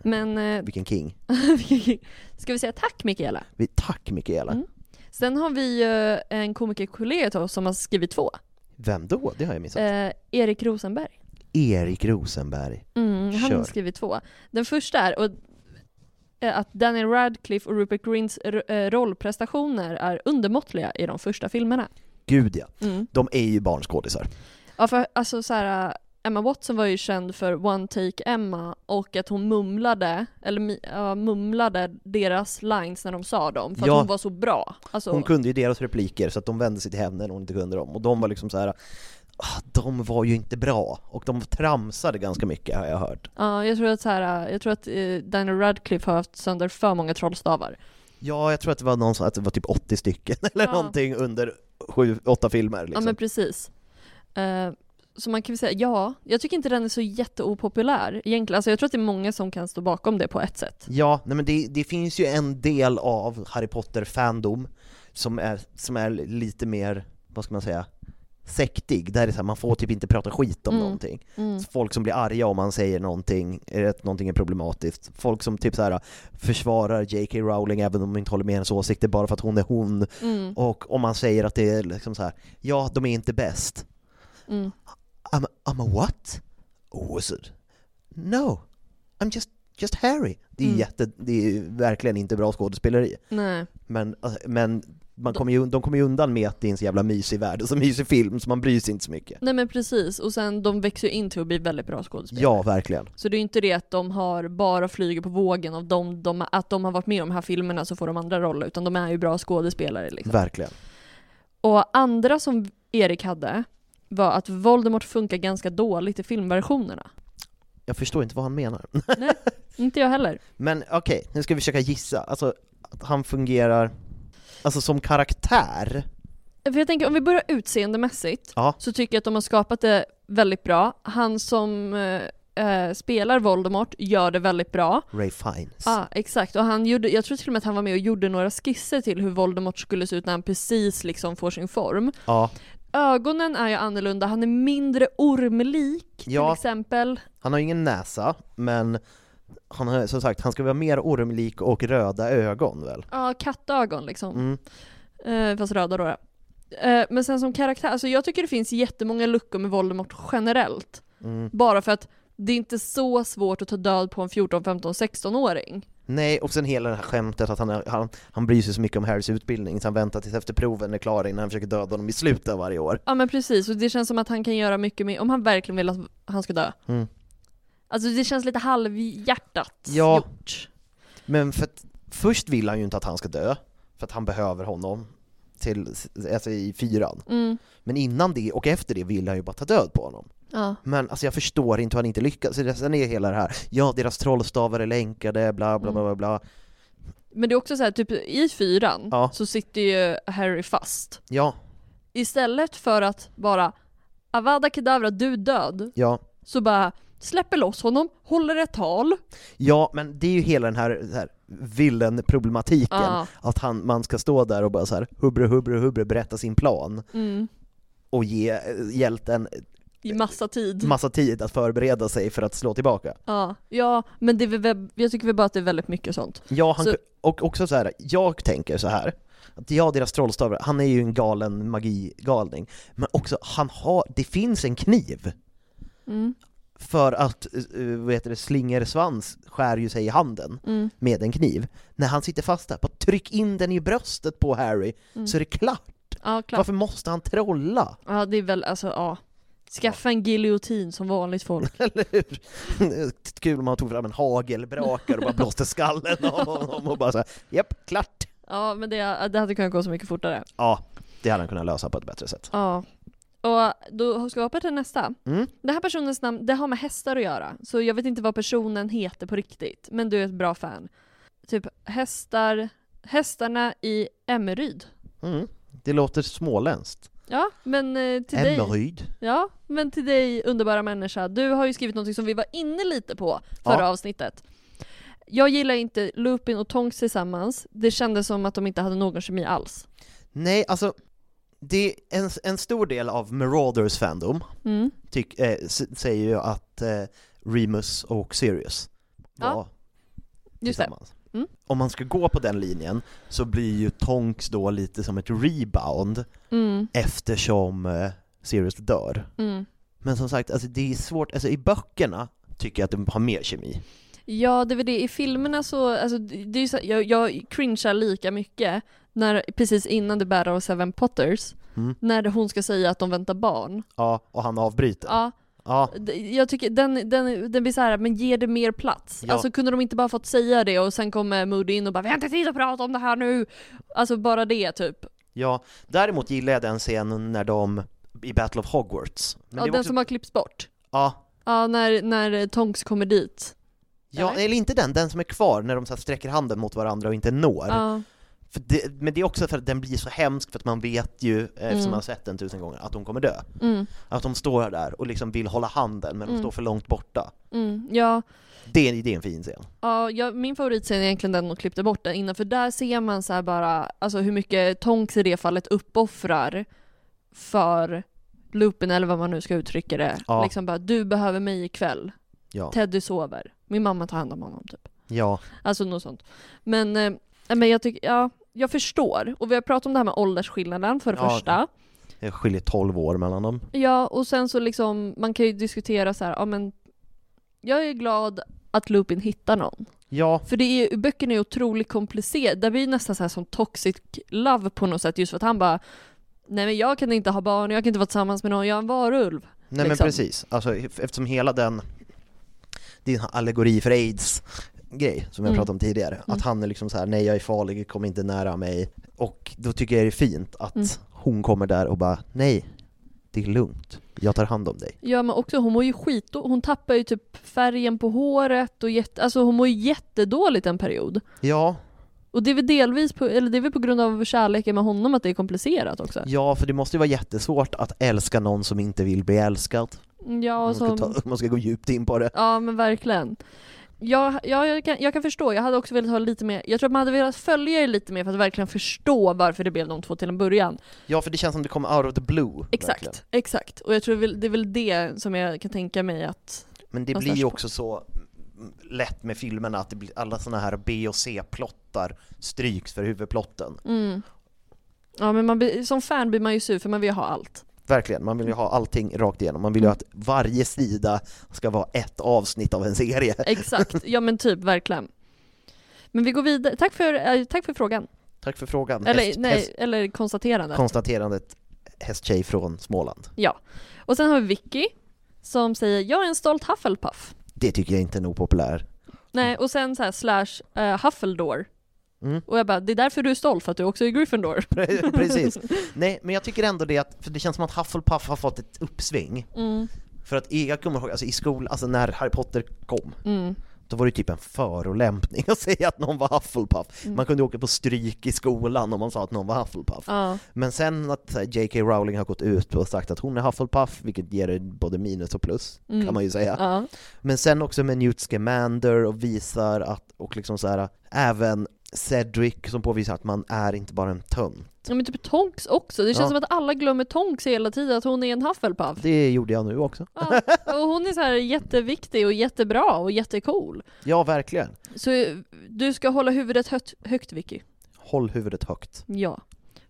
Speaker 2: Men eh,
Speaker 3: Vilken king.
Speaker 2: ska vi säga tack Mikaela?
Speaker 3: Vi, tack Mikaela.
Speaker 2: Mm. Sen har vi ju en komikerkollega till oss som har skrivit två.
Speaker 3: Vem då? Det har jag missat.
Speaker 2: Eh, Erik Rosenberg.
Speaker 3: Erik Rosenberg.
Speaker 2: Mm, han
Speaker 3: Kör.
Speaker 2: har skrivit två. Den första är och, eh, att Daniel Radcliffe och Rupert Grins r- eh, rollprestationer är undermåttliga i de första filmerna.
Speaker 3: Gud ja.
Speaker 2: Mm.
Speaker 3: De är ju barnskådisar.
Speaker 2: Ja, för, alltså, så här, eh, Emma Watson var ju känd för One Take Emma och att hon mumlade, eller mi- ja, mumlade deras lines när de sa dem för
Speaker 3: Ja.
Speaker 2: att hon var så bra. Alltså,
Speaker 3: Hon kunde ju deras repliker så att de vände sig till henne när hon inte kunde dem och de var liksom så här. "Ah, De var ju inte bra och de tramsade ganska mycket har jag hört.
Speaker 2: ja, jag tror att, så här, eh, jag tror att eh, Daniel Radcliffe har haft sönder för många trollstavar.
Speaker 3: Ja, jag tror att det var någon som, att det var typ 80 stycken eller
Speaker 2: Ja.
Speaker 3: någonting under sju, åtta filmer
Speaker 2: Ja
Speaker 3: liksom.
Speaker 2: men precis. Eh, så man kan väl säga, ja, jag tycker inte den är så jätteopopulär egentligen. Alltså jag tror att det är många som kan stå bakom det på ett sätt.
Speaker 3: Ja, nej men det, det finns ju en del av Harry Potter-fandom som är, som är lite mer, vad ska man säga, sektig. Där det är så här, man får typ inte prata skit om
Speaker 2: Mm,
Speaker 3: någonting.
Speaker 2: mm.
Speaker 3: Folk som blir arga om man säger någonting, eller att någonting är problematiskt. Folk som typ så här försvarar J.K. Rowling även om de inte håller med hennes åsikter bara för att hon är hon.
Speaker 2: Mm.
Speaker 3: Och om man säger att det är liksom så här, ja de är inte bäst.
Speaker 2: Mm.
Speaker 3: I'm a, I'm a what? A wizard? No, I'm just, just Harry. Det är,
Speaker 2: Mm.
Speaker 3: jätte, det är ju verkligen inte bra skådespeleri.
Speaker 2: Nej.
Speaker 3: Men, alltså, men man kommer ju, de kommer ju undan med att det är en så jävla mysig värld och så mysig film så man bryr sig inte så mycket.
Speaker 2: Nej men precis, och sen de växer ju in till att bli väldigt bra skådespelare.
Speaker 3: Ja, verkligen.
Speaker 2: Så det är ju inte det att de har bara flyger på vågen av de, de, att de har varit med i de här filmerna så får de andra roller, utan de är ju bra skådespelare liksom.
Speaker 3: Verkligen.
Speaker 2: Och andra som Erik hade var att Voldemort funkar ganska dåligt i filmversionerna.
Speaker 3: Jag förstår inte vad han menar.
Speaker 2: Inte jag heller.
Speaker 3: Men okej, nu ska vi försöka gissa. Alltså, att han fungerar... Alltså som karaktär?
Speaker 2: För jag tänker om vi börjar utseendemässigt
Speaker 3: Ja.
Speaker 2: så tycker jag att de har skapat det väldigt bra. Han som eh, eh, spelar Voldemort gör det väldigt bra.
Speaker 3: Ray Fiennes.
Speaker 2: Ja, Ah, exakt. Och han gjorde, jag tror till och med att han var med och gjorde några skisser till hur Voldemort skulle se ut när han precis liksom får sin form.
Speaker 3: Ja.
Speaker 2: Ögonen är ju annorlunda, han är mindre ormlik till
Speaker 3: Ja.
Speaker 2: exempel.
Speaker 3: Han har ingen näsa, men han har, som sagt, han ska vara mer ormlik och röda ögon väl?
Speaker 2: Ja, kattögon liksom.
Speaker 3: Mm.
Speaker 2: Eh, fast röda då. ja. Eh, men sen som karaktär, alltså jag tycker det finns jättemånga luckor med Voldemort generellt.
Speaker 3: Mm.
Speaker 2: Bara för att det är inte så svårt att ta död på en 14, 15, 16-åring.
Speaker 3: Nej, och sen hela det här skämtet att han, är- han, han bryr sig så mycket om Harrys utbildning så han väntar tills efter proven är klara innan han försöker döda honom i slutet av varje år.
Speaker 2: Ja men precis, och det känns som att han kan göra mycket mer, om han verkligen vill att han ska dö.
Speaker 3: Mm.
Speaker 2: Alltså det känns lite halvhjärtat
Speaker 3: Ja.
Speaker 2: gjort.
Speaker 3: Men för att, först vill han ju inte att han ska dö, För att han behöver honom till, alltså i fyran.
Speaker 2: Mm.
Speaker 3: Men innan det och efter det vill han ju bara ta död på honom.
Speaker 2: Ja.
Speaker 3: Men alltså jag förstår inte hur han inte lyckas. Så Sen är hela det här, ja deras trollstavar är länkade, bla bla bla bla bla.
Speaker 2: Men det är också så här, typ i fyran
Speaker 3: Ja.
Speaker 2: så sitter ju Harry fast.
Speaker 3: Ja,
Speaker 2: Istället för att bara Avada Kedavra, du är död.
Speaker 3: ja.
Speaker 2: Så bara släpper loss honom, håller ett tal.
Speaker 3: Ja, men det är ju hela den här, så här villain-problematiken.
Speaker 2: Ja.
Speaker 3: Att han, man ska stå där och bara så här hubbre, hubbre, hubbre, berätta sin plan
Speaker 2: Mm.
Speaker 3: och ge eh, hjälten
Speaker 2: I massa tid.
Speaker 3: massa tid att förbereda sig för att slå tillbaka.
Speaker 2: Ja, ja men det är väl, jag tycker väl bara att det är väldigt mycket sånt.
Speaker 3: Ja, han,
Speaker 2: Så-
Speaker 3: och också så här, jag tänker så här att ja, deras trollstavar, han är ju en galen magigalning, men också han har, det finns en kniv
Speaker 2: Mm.
Speaker 3: för att, eh, vad heter det, slingersvans skär ju sig i handen
Speaker 2: Mm.
Speaker 3: med en kniv. När han sitter fast där, bara tryck in den i bröstet på Harry
Speaker 2: Mm.
Speaker 3: så är det klart.
Speaker 2: Ja, klart.
Speaker 3: Varför måste han trolla?
Speaker 2: Ja, det är väl alltså, ja. Skaffa en giljotin som vanligt folk.
Speaker 3: Eller hur? Kul om han tog fram en hagelbrakare och bara blåste skallen av honom och bara såhär, japp, klart!
Speaker 2: Ja, men det, det hade kunnat gå så mycket fortare.
Speaker 3: Ja, det hade han kunnat lösa på ett bättre sätt.
Speaker 2: Ja. Och då ska vi hoppa till nästa.
Speaker 3: Mm.
Speaker 2: Den här personens namn, det har med hästar att göra. Så jag vet inte vad personen heter på riktigt. Men du är ett bra fan. Typ hästar, hästarna i Emmeryd.
Speaker 3: Mm. Det låter småländskt.
Speaker 2: Ja, men eh, till dig.
Speaker 3: Emmeryd.
Speaker 2: Ja, men till dig underbara människa. Du har ju skrivit något som vi var inne lite på förra
Speaker 3: Ja.
Speaker 2: avsnittet. Jag gillar inte Lupin och Tonks tillsammans. Det kändes som att de inte hade någon kemi alls.
Speaker 3: Nej, alltså, det är en, en stor del av Marauders fandom
Speaker 2: Mm.
Speaker 3: tyck, eh, s- säger ju att eh, Remus och Sirius var
Speaker 2: Ja, Just det.
Speaker 3: tillsammans.
Speaker 2: Mm.
Speaker 3: Om man ska gå på den linjen så blir ju Tonks då lite som ett rebound
Speaker 2: Mm.
Speaker 3: eftersom eh, Sirius dör.
Speaker 2: Mm.
Speaker 3: Men som sagt, alltså det är svårt, alltså i böckerna tycker jag att de har mer kemi.
Speaker 2: Ja, det är väl det. I filmerna så, alltså, det det är ju så, jag, jag cringear lika mycket när, precis innan The Battle of Seven Potters,
Speaker 3: Mm.
Speaker 2: när hon ska säga att de väntar barn.
Speaker 3: Ja, och han avbryter.
Speaker 2: Ja,
Speaker 3: Ja,
Speaker 2: d- jag tycker den, den, den blir så här, men ger det mer plats?
Speaker 3: Ja.
Speaker 2: Alltså kunde de inte bara fått säga det och sen kommer Moody in och bara vi har inte tid att prata om det här nu! Alltså bara det typ.
Speaker 3: ja. Däremot gillar jag den scenen när de, i Battle of Hogwarts. Men
Speaker 2: Ja,
Speaker 3: det är
Speaker 2: den
Speaker 3: också-
Speaker 2: som har klippts bort.
Speaker 3: ja,
Speaker 2: Ja, när, när Tonks kommer dit.
Speaker 3: Ja, eller? inte den, den som är kvar när de så här sträcker handen mot varandra och inte når.
Speaker 2: Ja,
Speaker 3: För det, men det är också för att den blir så hemsk för att man vet ju, eh, eftersom man har sett den tusen gånger, att de kommer dö.
Speaker 2: mm,
Speaker 3: Att de står där och liksom vill hålla handen men de
Speaker 2: Mm.
Speaker 3: står för långt borta.
Speaker 2: mm, ja.
Speaker 3: Det, är- det är en fin scen.
Speaker 2: Ja, jag, min favoritscen är egentligen den de klippte bort den innan, för där ser man så här bara alltså hur mycket Tonks i det fallet uppoffrar för Lupin eller vad man nu ska uttrycka det.
Speaker 3: Ja.
Speaker 2: Liksom bara, du behöver mig ikväll.
Speaker 3: Ja.
Speaker 2: Teddy sover. Min mamma tar hand om honom typ.
Speaker 3: Ja.
Speaker 2: Alltså något sånt. Men, eh, men jag tycker, ja, jag förstår. Och vi har pratat om det här med åldersskillnaden för det
Speaker 3: Ja.
Speaker 2: första.
Speaker 3: Det skiljer 12 år mellan dem.
Speaker 2: Ja, och sen så liksom, man kan ju diskutera så här, ja men jag är glad att Lupin hittar någon.
Speaker 3: Ja,
Speaker 2: För det är, ju- böckerna är otroligt komplicerade, där blir det nästan så här som toxic love på något sätt just för att han bara Nej men jag kan inte ha barn, jag kan inte vara tillsammans med någon, jag är en varulv. Liksom.
Speaker 3: nej men precis. Alltså, eftersom hela den, det är en allegori för aids grej som jag
Speaker 2: Mm.
Speaker 3: pratade om tidigare. Att han är liksom så här: nej jag är farlig, kom inte nära mig. Och då tycker jag det är fint att
Speaker 2: Mm.
Speaker 3: hon kommer där och bara, nej, det är lugnt, jag tar hand om dig.
Speaker 2: Ja men också hon mår ju skit hon tappar ju typ färgen på håret och jätte, alltså hon mår ju jättedåligt en period.
Speaker 3: Ja,
Speaker 2: Och det är väl delvis på, eller det är väl på grund av kärleken med honom att det är komplicerat också.
Speaker 3: ja för det måste ju vara jättesvårt att älska någon som inte vill bli älskad.
Speaker 2: Ja,
Speaker 3: Om man,
Speaker 2: som,
Speaker 3: ska ta, om man ska gå djupt in på det.
Speaker 2: ja men verkligen. Ja, ja, jag, kan, jag kan förstå, jag hade också velat ha lite mer, jag tror att man hade velat följa det lite mer för att verkligen förstå varför det blev de två till en början.
Speaker 3: Ja, för det känns som det kommer out of the blue.
Speaker 2: Exakt,
Speaker 3: verkligen.
Speaker 2: exakt. Och jag tror väl- det är väl det som jag kan tänka mig att...
Speaker 3: Men det
Speaker 2: Någonstans
Speaker 3: blir ju
Speaker 2: på.
Speaker 3: också så mm, lätt med filmerna att det blir alla såna här B och C-plottar stryks för huvudplotten.
Speaker 2: Mm. Ja men man, blir- som fan blir man ju sur för man vill ju ha allt.
Speaker 3: Verkligen, man vill ju ha allting rakt igenom. Man vill
Speaker 2: Mm.
Speaker 3: ju att varje sida ska vara ett avsnitt av en serie.
Speaker 2: Exakt, ja men typ verkligen. Men vi går vidare, tack för, eh, tack för frågan.
Speaker 3: Tack för frågan.
Speaker 2: Eller,
Speaker 3: Häst-
Speaker 2: nej,
Speaker 3: häst-
Speaker 2: eller konstaterandet.
Speaker 3: konstaterandet hästtjej från Småland.
Speaker 2: ja. Och sen har vi Vicky som säger “Jag är en stolt Hufflepuff”.
Speaker 3: Det tycker jag inte är en opopulär.
Speaker 2: Nej, och sen så här slash eh, Huffledore.
Speaker 3: Mm.
Speaker 2: Och jag bara, det är därför du är stolt, för att du också är Gryffindor.
Speaker 3: Pre- Precis. Nej, men jag tycker ändå det att, för det känns som att Hufflepuff har fått ett uppsving.
Speaker 2: Mm.
Speaker 3: För att jag kommer ihåg, alltså i skolan, alltså när Harry Potter kom,
Speaker 2: Mm.
Speaker 3: då var det typ en förolämpning att säga att någon var Hufflepuff.
Speaker 2: Mm.
Speaker 3: Man kunde åka på stryk i skolan om man sa att någon var Hufflepuff.
Speaker 2: Ja.
Speaker 3: Men sen att så här, J.K. Rowling har gått ut och sagt att hon är Hufflepuff, vilket ger det både minus och plus,
Speaker 2: Mm.
Speaker 3: kan man ju säga.
Speaker 2: Ja.
Speaker 3: Men sen också med Newt Scamander och visar att, och liksom så här, även Cedric som påvisar att man är inte bara en tönt.
Speaker 2: Ja men typ Tonks också, det känns
Speaker 3: Ja.
Speaker 2: som att alla glömmer Tonks hela tiden, att hon är en Hufflepuff.
Speaker 3: Det gjorde jag nu också.
Speaker 2: Ja, och hon är så här jätteviktig och jättebra och jättecool.
Speaker 3: Ja, verkligen.
Speaker 2: Så eh, du ska hålla huvudet högt, högt Vicky.
Speaker 3: Håll huvudet högt.
Speaker 2: Ja.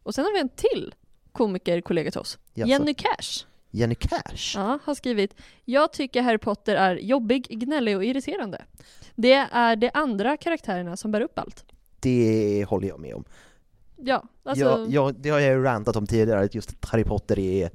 Speaker 2: Och sen har vi en till komikerkollega till oss.
Speaker 3: Jaså?
Speaker 2: Jenny Cash.
Speaker 3: Jenny Cash.
Speaker 2: Ja, har skrivit Jag tycker Harry Potter är jobbig, gnällig och irriterande. Det är de andra karaktärerna som bär upp allt.
Speaker 3: Det håller jag med om.
Speaker 2: Ja, alltså.
Speaker 3: Jag, jag, det har jag ju rantat om tidigare, att just att Harry Potter är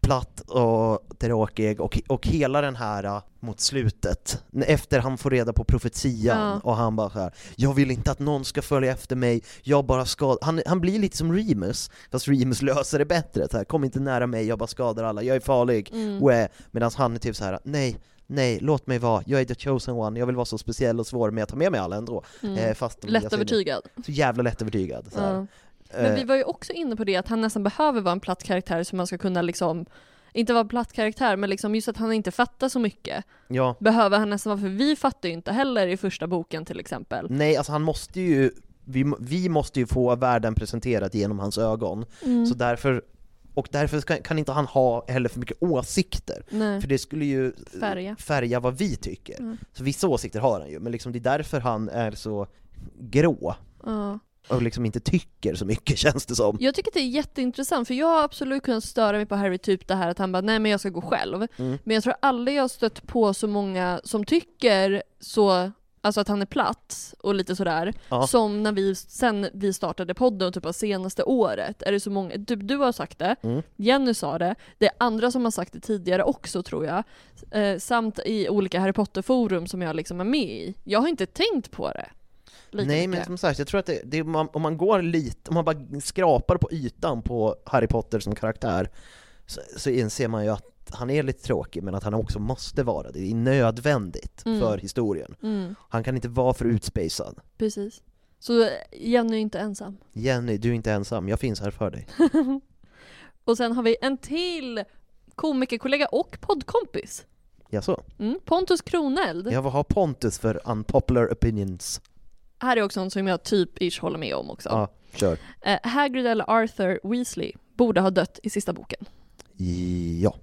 Speaker 3: platt och tråkig och, och hela den här äh, mot slutet, när- efter han får reda på profetian
Speaker 2: Ja.
Speaker 3: och han bara så här, jag vill inte att någon ska följa efter mig, jag bara skadar, han, han blir lite som Remus, fast Remus löser det bättre, så här, kom inte nära mig, jag bara skadar alla, jag är farlig,
Speaker 2: Mm.
Speaker 3: mm. medan han är typ så här, nej, nej, låt mig vara, jag är the chosen one, jag vill vara så speciell och svår, men jag tar med mig alla ändå.
Speaker 2: Mm.
Speaker 3: Eh, fast de- jag ser-
Speaker 2: Lättövertygad.
Speaker 3: Så jävla lättövertygad. Så här.
Speaker 2: Ja. Men vi
Speaker 3: Eh,
Speaker 2: var ju också inne på det att han nästan behöver vara en platt karaktär så man ska kunna liksom, inte vara en platt karaktär men liksom just att han inte fattar så mycket.
Speaker 3: ja.
Speaker 2: Behöver han nästan vara, för vi fattar ju inte heller i första boken till exempel.
Speaker 3: Nej, alltså han måste ju, vi, må- vi måste ju få världen presenterad genom hans ögon.
Speaker 2: Mm.
Speaker 3: Så därför, och därför ska, kan inte han ha heller för mycket åsikter.
Speaker 2: Nej.
Speaker 3: För det skulle ju eh,
Speaker 2: Färga.
Speaker 3: färga vad vi tycker.
Speaker 2: Mm.
Speaker 3: Så vissa åsikter har han ju, men liksom det är därför han är så grå
Speaker 2: Ja.
Speaker 3: och liksom inte tycker så mycket känns det som.
Speaker 2: Jag tycker att det är jätteintressant för jag har absolut kunnat störa mig på Harry typ det här att han bara nej men jag ska gå själv.
Speaker 3: Mm.
Speaker 2: Men jag tror aldrig jag har stött på så många som tycker så, alltså att han är platt och lite sådär,
Speaker 3: Ja.
Speaker 2: som när vi, sen vi startade podden typ av senaste året. Är det så många, du, du har sagt det,
Speaker 3: Mm.
Speaker 2: Jenny sa det, det är andra som har sagt det tidigare också tror jag, eh, samt i olika Harry Potter-forum som jag liksom är med i. Jag har inte tänkt på det. lika
Speaker 3: Nej men
Speaker 2: mycket.
Speaker 3: som sagt, jag tror att det, det, man, om man går lite, om man bara skrapar på ytan på Harry Potter som karaktär så, så inser man ju att han är lite tråkig men att han också måste vara det. Det är nödvändigt
Speaker 2: Mm.
Speaker 3: för historien.
Speaker 2: Mm,
Speaker 3: Han kan inte vara för utspejsad.
Speaker 2: precis. Så eh, Jenny är inte ensam.
Speaker 3: Jenny, du är inte ensam, jag finns här för dig.
Speaker 2: Och sen har vi en till komikerkollega och poddkompis.
Speaker 3: Jaså?
Speaker 2: Mm, Pontus Kroneld.
Speaker 3: Jag vad har Pontus för unpopular opinions?
Speaker 2: Här är också en som jag typ ish håller med om också.
Speaker 3: Ja, kör.
Speaker 2: Eh, Hagrid eller Arthur Weasley borde ha dött i sista boken.
Speaker 3: Ja.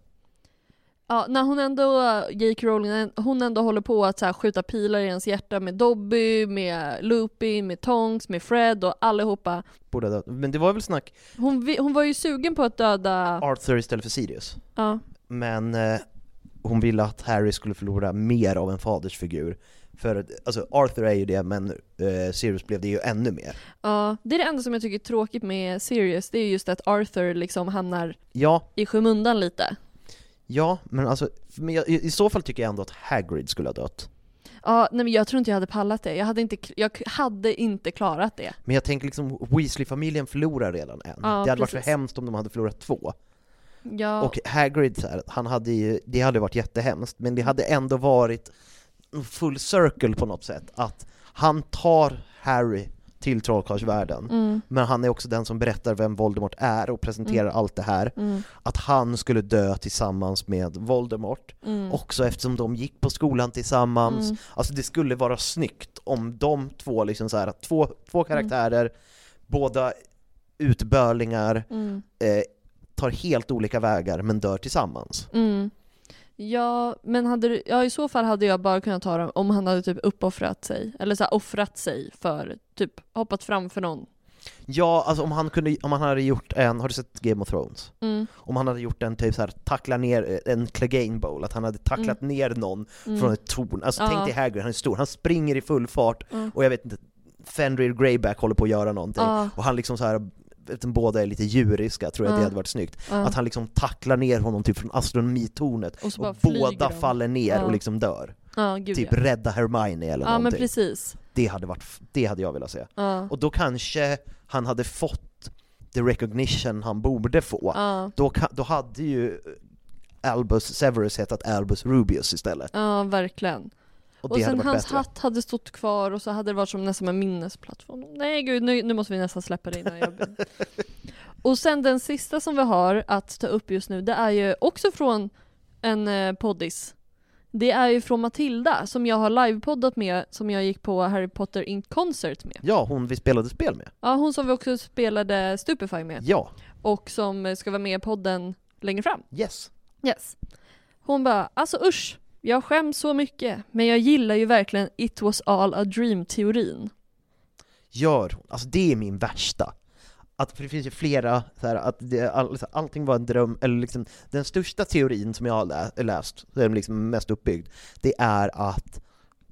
Speaker 2: Ja, när hon ändå, J.K. Rowling, eh, hon ändå håller på att så här, skjuta pilar i ens hjärta med Dobby, med Loopy, med Tonks, med Fred och allihopa.
Speaker 3: Borde ha dött. Men det var väl snack
Speaker 2: Hon, vi- hon var ju sugen på att döda...
Speaker 3: Arthur istället för Sirius.
Speaker 2: Ja.
Speaker 3: Men eh, hon ville att Harry skulle förlora mer av en fadersfigur. För att- alltså Arthur är ju det, men eh, Sirius blev det ju ännu mer.
Speaker 2: ja. Det är det enda som jag tycker är tråkigt med Sirius, det är just att Arthur liksom hamnar
Speaker 3: Ja,
Speaker 2: i skymundan lite.
Speaker 3: ja, men alltså, men jag, i, i så fall tycker jag ändå att Hagrid skulle ha dött.
Speaker 2: Ja, nej men jag tror inte jag hade pallat det. Jag hade inte, jag hade inte klarat det.
Speaker 3: Men jag tänker liksom, Weasley-familjen förlorar redan en.
Speaker 2: Ja,
Speaker 3: det hade varit
Speaker 2: precis.
Speaker 3: för hemskt om de hade förlorat två.
Speaker 2: Ja,
Speaker 3: Och Hagrid, så här, han hade ju, det hade varit jättehemskt, men det hade ändå varit en full circle på något sätt, att han tar Harry till trollkarlsvärlden,
Speaker 2: Mm.
Speaker 3: men han är också den som berättar vem Voldemort är och presenterar
Speaker 2: Mm.
Speaker 3: allt det här.
Speaker 2: Mm.
Speaker 3: Att han skulle dö tillsammans med Voldemort,
Speaker 2: Mm.
Speaker 3: också eftersom de gick på skolan tillsammans.
Speaker 2: Mm.
Speaker 3: Alltså det skulle vara snyggt om de två, liksom så här, två, två karaktärer, båda utbölingar,
Speaker 2: Mm.
Speaker 3: eh, tar helt olika vägar men dör tillsammans.
Speaker 2: Mm. Ja, men hade, du- ja, i så fall hade jag bara kunnat ta dem om han hade typ uppoffrat sig. Eller så här, offrat sig för, typ hoppat fram för någon.
Speaker 3: Ja, alltså om han, kunde, om han hade gjort en, har du sett Game of Thrones?
Speaker 2: Mm.
Speaker 3: Om han hade gjort en typ så här, tackla ner eh, en Clegane Bowl, att han hade tacklat ner någon
Speaker 2: Mm.
Speaker 3: från ett torn. Alltså
Speaker 2: Ja.
Speaker 3: tänk dig Hagrid, han är stor, han springer i full fart
Speaker 2: Ja.
Speaker 3: och jag vet inte, Fenrir Greyback håller på att göra någonting.
Speaker 2: Ja.
Speaker 3: Och han liksom så här eftersom båda är lite djuriska tror jag att
Speaker 2: Ja.
Speaker 3: det hade varit snyggt.
Speaker 2: Ja.
Speaker 3: Att han liksom tacklar ner honom typ från astronomitornet
Speaker 2: Och så
Speaker 3: och,
Speaker 2: bara flyger
Speaker 3: båda
Speaker 2: de.
Speaker 3: faller ner
Speaker 2: Ja.
Speaker 3: och liksom dör.
Speaker 2: Ja, gud
Speaker 3: typ
Speaker 2: ja.
Speaker 3: rädda Hermione eller
Speaker 2: Ja men
Speaker 3: någonting.
Speaker 2: precis.
Speaker 3: Det hade, varit, f- det hade jag velat se.
Speaker 2: Ja.
Speaker 3: Och då kanske han hade fått the recognition han borde få.
Speaker 2: Ja.
Speaker 3: Då, ka- då hade ju eh, Albus Severus hetat Albus Rubius istället.
Speaker 2: Ja, verkligen.
Speaker 3: Och
Speaker 2: Och,
Speaker 3: det
Speaker 2: sen
Speaker 3: hade varit
Speaker 2: hans
Speaker 3: bättre.
Speaker 2: hatt hade stått kvar och så hade det varit som nästan en minnesplats för honom. Nej gud, nu, nu måste vi nästan släppa det innan jag blir... och sen den sista som vi har att ta upp just nu, det är ju också från en eh, poddis. Det är ju från Matilda, som jag har livepoddat med, som jag gick på Harry Potter in Concert med.
Speaker 3: Ja, hon vi spelade spel med.
Speaker 2: Ja, hon som vi också spelade Stupefy med.
Speaker 3: Ja.
Speaker 2: Och som eh, ska vara med i podden längre fram.
Speaker 3: Yes.
Speaker 2: Yes. Hon bara, alltså usch, jag skäms så mycket, men jag gillar ju verkligen It was all a dream-teorin.
Speaker 3: Gör hon? Alltså det är min värsta. Att för det finns ju flera, så här, att det, all, så här, allting var en dröm, eller liksom den största teorin som jag har lä- läst, den liksom mest uppbyggd, det är att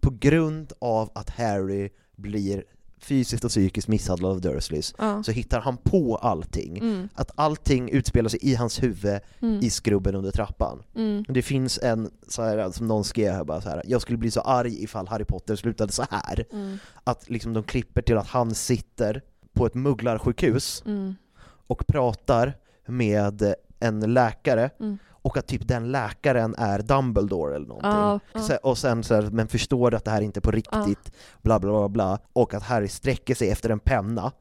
Speaker 3: på grund av att Harry blir fysiskt och psykiskt misshandlad av Dursleys
Speaker 2: Ja.
Speaker 3: så hittar han på allting.
Speaker 2: Mm.
Speaker 3: Att allting utspelar sig i hans huvud,
Speaker 2: Mm.
Speaker 3: i skrubben under trappan.
Speaker 2: Mm.
Speaker 3: Det finns en, så här, som någon skrev här, bara så här, jag skulle bli så arg ifall Harry Potter slutade så här
Speaker 2: Mm.
Speaker 3: att liksom de klipper till att han sitter på ett mugglarsjukhus
Speaker 2: Mm.
Speaker 3: och pratar med en läkare
Speaker 2: Mm.
Speaker 3: och att typ den läkaren är Dumbledore eller någonting.
Speaker 2: Ja, ja.
Speaker 3: Så- Och sen så här, men förstår att det här inte är på riktigt, bla bla bla bla, och att Harry sträcker sig efter en penna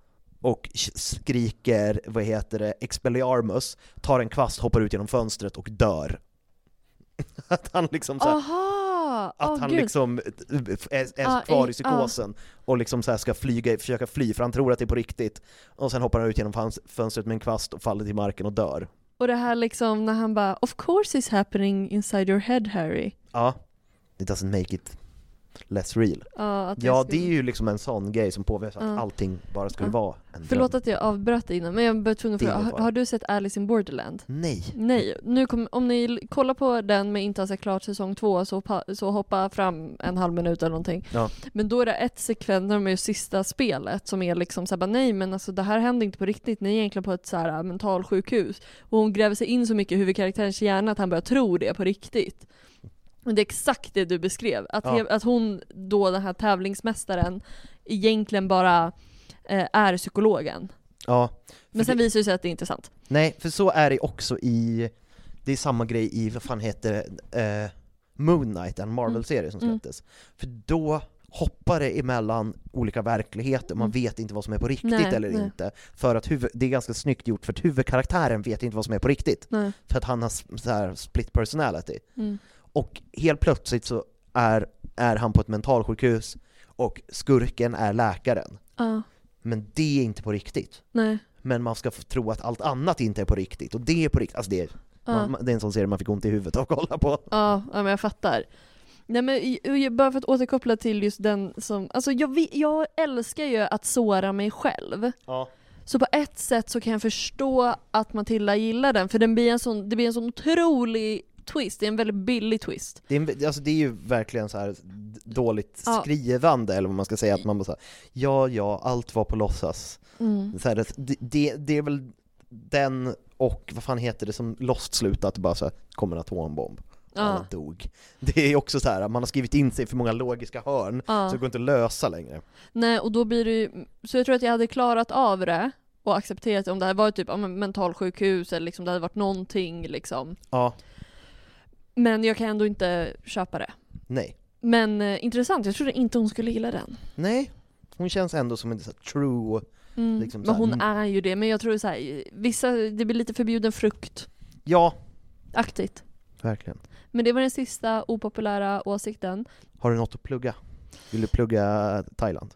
Speaker 3: och sh- skriker, vad heter det, Expelliarmus, tar en kvast, hoppar ut genom fönstret och dör. Att han liksom så här,
Speaker 2: Aha!
Speaker 3: att
Speaker 2: Åh,
Speaker 3: han
Speaker 2: gud.
Speaker 3: liksom är, är
Speaker 2: Ja,
Speaker 3: kvar
Speaker 2: i-
Speaker 3: i psykosen och liksom så här ska flyga, försöka fly för han tror att det är på riktigt. Och sen hoppar han ut genom fans- fönstret med en kvast och faller till marken och dör.
Speaker 2: Och det här liksom när han bara “Of course it's happening inside your head Harry”.
Speaker 3: Ja. It doesn't make it less real.
Speaker 2: Ja, att
Speaker 3: Ja,
Speaker 2: skulle-
Speaker 3: det är ju liksom en sån grej som påvisar att
Speaker 2: Ja.
Speaker 3: allting bara skulle
Speaker 2: Ja.
Speaker 3: vara en
Speaker 2: Förlåt
Speaker 3: dröm.
Speaker 2: att jag avbröt dig innan, men jag var tvungen att
Speaker 3: Det är
Speaker 2: fråga,
Speaker 3: ingen
Speaker 2: har,
Speaker 3: fara.
Speaker 2: har du sett Alice in Borderland?
Speaker 3: Nej.
Speaker 2: Nej, nu kom, om ni l- kollar på den men inte har sett klart säsong två så, pa- så hoppa fram en halv minut eller någonting.
Speaker 3: Ja.
Speaker 2: Men då är det ett sekvens, när de är i sista spelet, som är liksom såhär bara, nej men alltså det här händer inte på riktigt, ni är egentligen på ett såhär mentalsjukhus. Och hon gräver sig in så mycket i huvudkaraktärens hjärna att han börjar tro det på riktigt. Och det är exakt det du beskrev, att,
Speaker 3: Ja.
Speaker 2: he- att hon då, den här tävlingsmästaren, egentligen bara eh, är psykologen.
Speaker 3: Ja.
Speaker 2: Men sen visar det sig att det inte är sant.
Speaker 3: Nej, för så är det också i, det är samma grej i, vad fan heter det, eh, Moon Knight, en Marvel-serie som
Speaker 2: Mm.
Speaker 3: släpptes. För då hoppar det emellan olika verkligheter, man vet inte vad som är på riktigt
Speaker 2: Mm. Nej,
Speaker 3: eller
Speaker 2: nej.
Speaker 3: inte. För att huvud, det är ganska snyggt gjort, för att huvudkaraktären vet inte vad som är på riktigt.
Speaker 2: Nej.
Speaker 3: För att han har s- så här split personality.
Speaker 2: Mm.
Speaker 3: Och helt plötsligt så är, är han på ett mentalsjukhus och skurken är läkaren.
Speaker 2: Ja,
Speaker 3: Men det är inte på riktigt
Speaker 2: nej.
Speaker 3: men man ska f- tro att allt annat inte är på riktigt, och det är på riktigt. Alltså det är,
Speaker 2: Ja.
Speaker 3: man, man- det är en sån serie man fick ont i huvudet av att kolla på.
Speaker 2: Ja, ja men jag fattar. Nej men i- i- bara för att återkoppla till just den som, alltså jag, vi- jag älskar ju att såra mig själv.
Speaker 3: Ja.
Speaker 2: Så på ett sätt så kan jag förstå att Matilda gillar den, för den blir en sån, det blir en sån otrolig twist, det är en väldigt billig twist.
Speaker 3: Det, är, en- alltså det är ju verkligen så här d- dåligt
Speaker 2: Ja.
Speaker 3: skrivande, eller vad man ska säga, att man bara så här, ja ja, allt var på låtsas.
Speaker 2: Mm.
Speaker 3: Så här, att det, det, det är väl den och, vad fan heter det som Lost slutade, att bara så här, kommer en atombomb.
Speaker 2: Ja.
Speaker 3: Alla dog. Det är också så här, att man har skrivit in sig i för många logiska hörn,
Speaker 2: Ja.
Speaker 3: så det går inte att lösa längre.
Speaker 2: Nej och då blir det ju, så jag tror att jag hade klarat av det och accepterat om det hade varit typ ja, men mentalsjukhus eller liksom det hade varit någonting liksom.
Speaker 3: Ja,
Speaker 2: Men jag kan ändå inte köpa det.
Speaker 3: nej.
Speaker 2: Men eh, intressant, jag trodde inte hon skulle gilla den.
Speaker 3: Nej, hon känns ändå som en så här, true
Speaker 2: Mm.
Speaker 3: Liksom
Speaker 2: men
Speaker 3: såhär,
Speaker 2: hon
Speaker 3: mm.
Speaker 2: är ju det, men jag tror så här, vissa, det blir lite förbjuden frukt.
Speaker 3: Ja,
Speaker 2: Aktigt.
Speaker 3: verkligen.
Speaker 2: Men det var den sista opopulära åsikten.
Speaker 3: Har du något att plugga? Vill du plugga Thailand?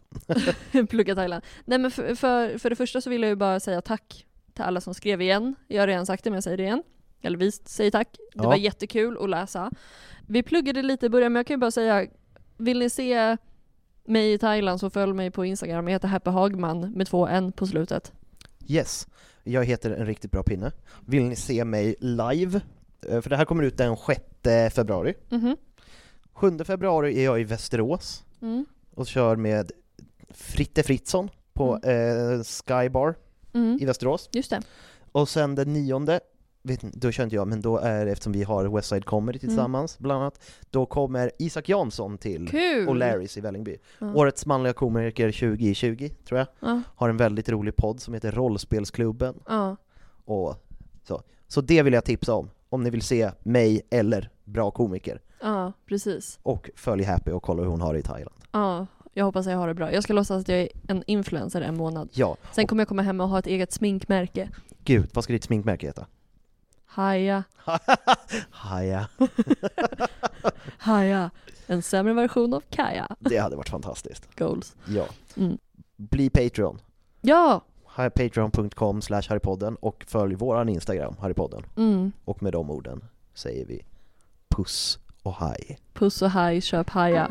Speaker 2: Plugga Thailand. Nej men för, för, för det första så vill jag ju bara säga tack till alla som skrev igen. Jag har redan sagt det men jag säger det igen. Eller vi säger tack. Det
Speaker 3: Ja.
Speaker 2: var jättekul att läsa. Vi pluggade lite i början men jag kan ju bara säga, vill ni se mig i Thailand så följ mig på Instagram. Jag heter Happy Hagman med två N på slutet.
Speaker 3: Yes, jag heter En riktigt bra pinne. Vill ni se mig live? Eh, För det här kommer ut den 6 februari.
Speaker 2: Mhm.
Speaker 3: 7 februari är jag i Västerås
Speaker 2: Mm.
Speaker 3: och kör med Fritte Fritzson på eh, Skybar
Speaker 2: Mm.
Speaker 3: i Västerås.
Speaker 2: Just det.
Speaker 3: Och sen den nionde vet, inte, då kör inte jag, men då är det eftersom vi har West Side Comedy tillsammans bland annat, då kommer Isak Jansson till
Speaker 2: Kul!
Speaker 3: O'Larrys i Vällingby.
Speaker 2: Ja.
Speaker 3: Årets manliga komiker 2020, tror jag,
Speaker 2: Ja.
Speaker 3: har en väldigt rolig podd som heter Rollspelsklubben.
Speaker 2: Ja.
Speaker 3: Och så. så det vill jag tipsa om, om ni vill se mig eller bra komiker.
Speaker 2: Ja, precis.
Speaker 3: Och följ Happy och kolla hur hon har det i Thailand.
Speaker 2: Ja, jag hoppas jag har det bra. Jag ska låtsas att jag är en influencer en månad.
Speaker 3: Ja.
Speaker 2: Sen kommer jag komma hem och ha ett eget sminkmärke.
Speaker 3: Gud, vad ska ditt sminkmärke heta?
Speaker 2: Haja,
Speaker 3: Haja.
Speaker 2: haja. En sämre version av Kaja.
Speaker 3: Det hade varit fantastiskt.
Speaker 2: Goals.
Speaker 3: Ja.
Speaker 2: Mm.
Speaker 3: Bli Patreon.
Speaker 2: Ja!
Speaker 3: Hi- Patreon.com slash Harrypodden och följ våran Instagram, Harrypodden.
Speaker 2: Mm.
Speaker 3: Och med de orden säger vi puss och hej.
Speaker 2: Puss och haj, köp haja.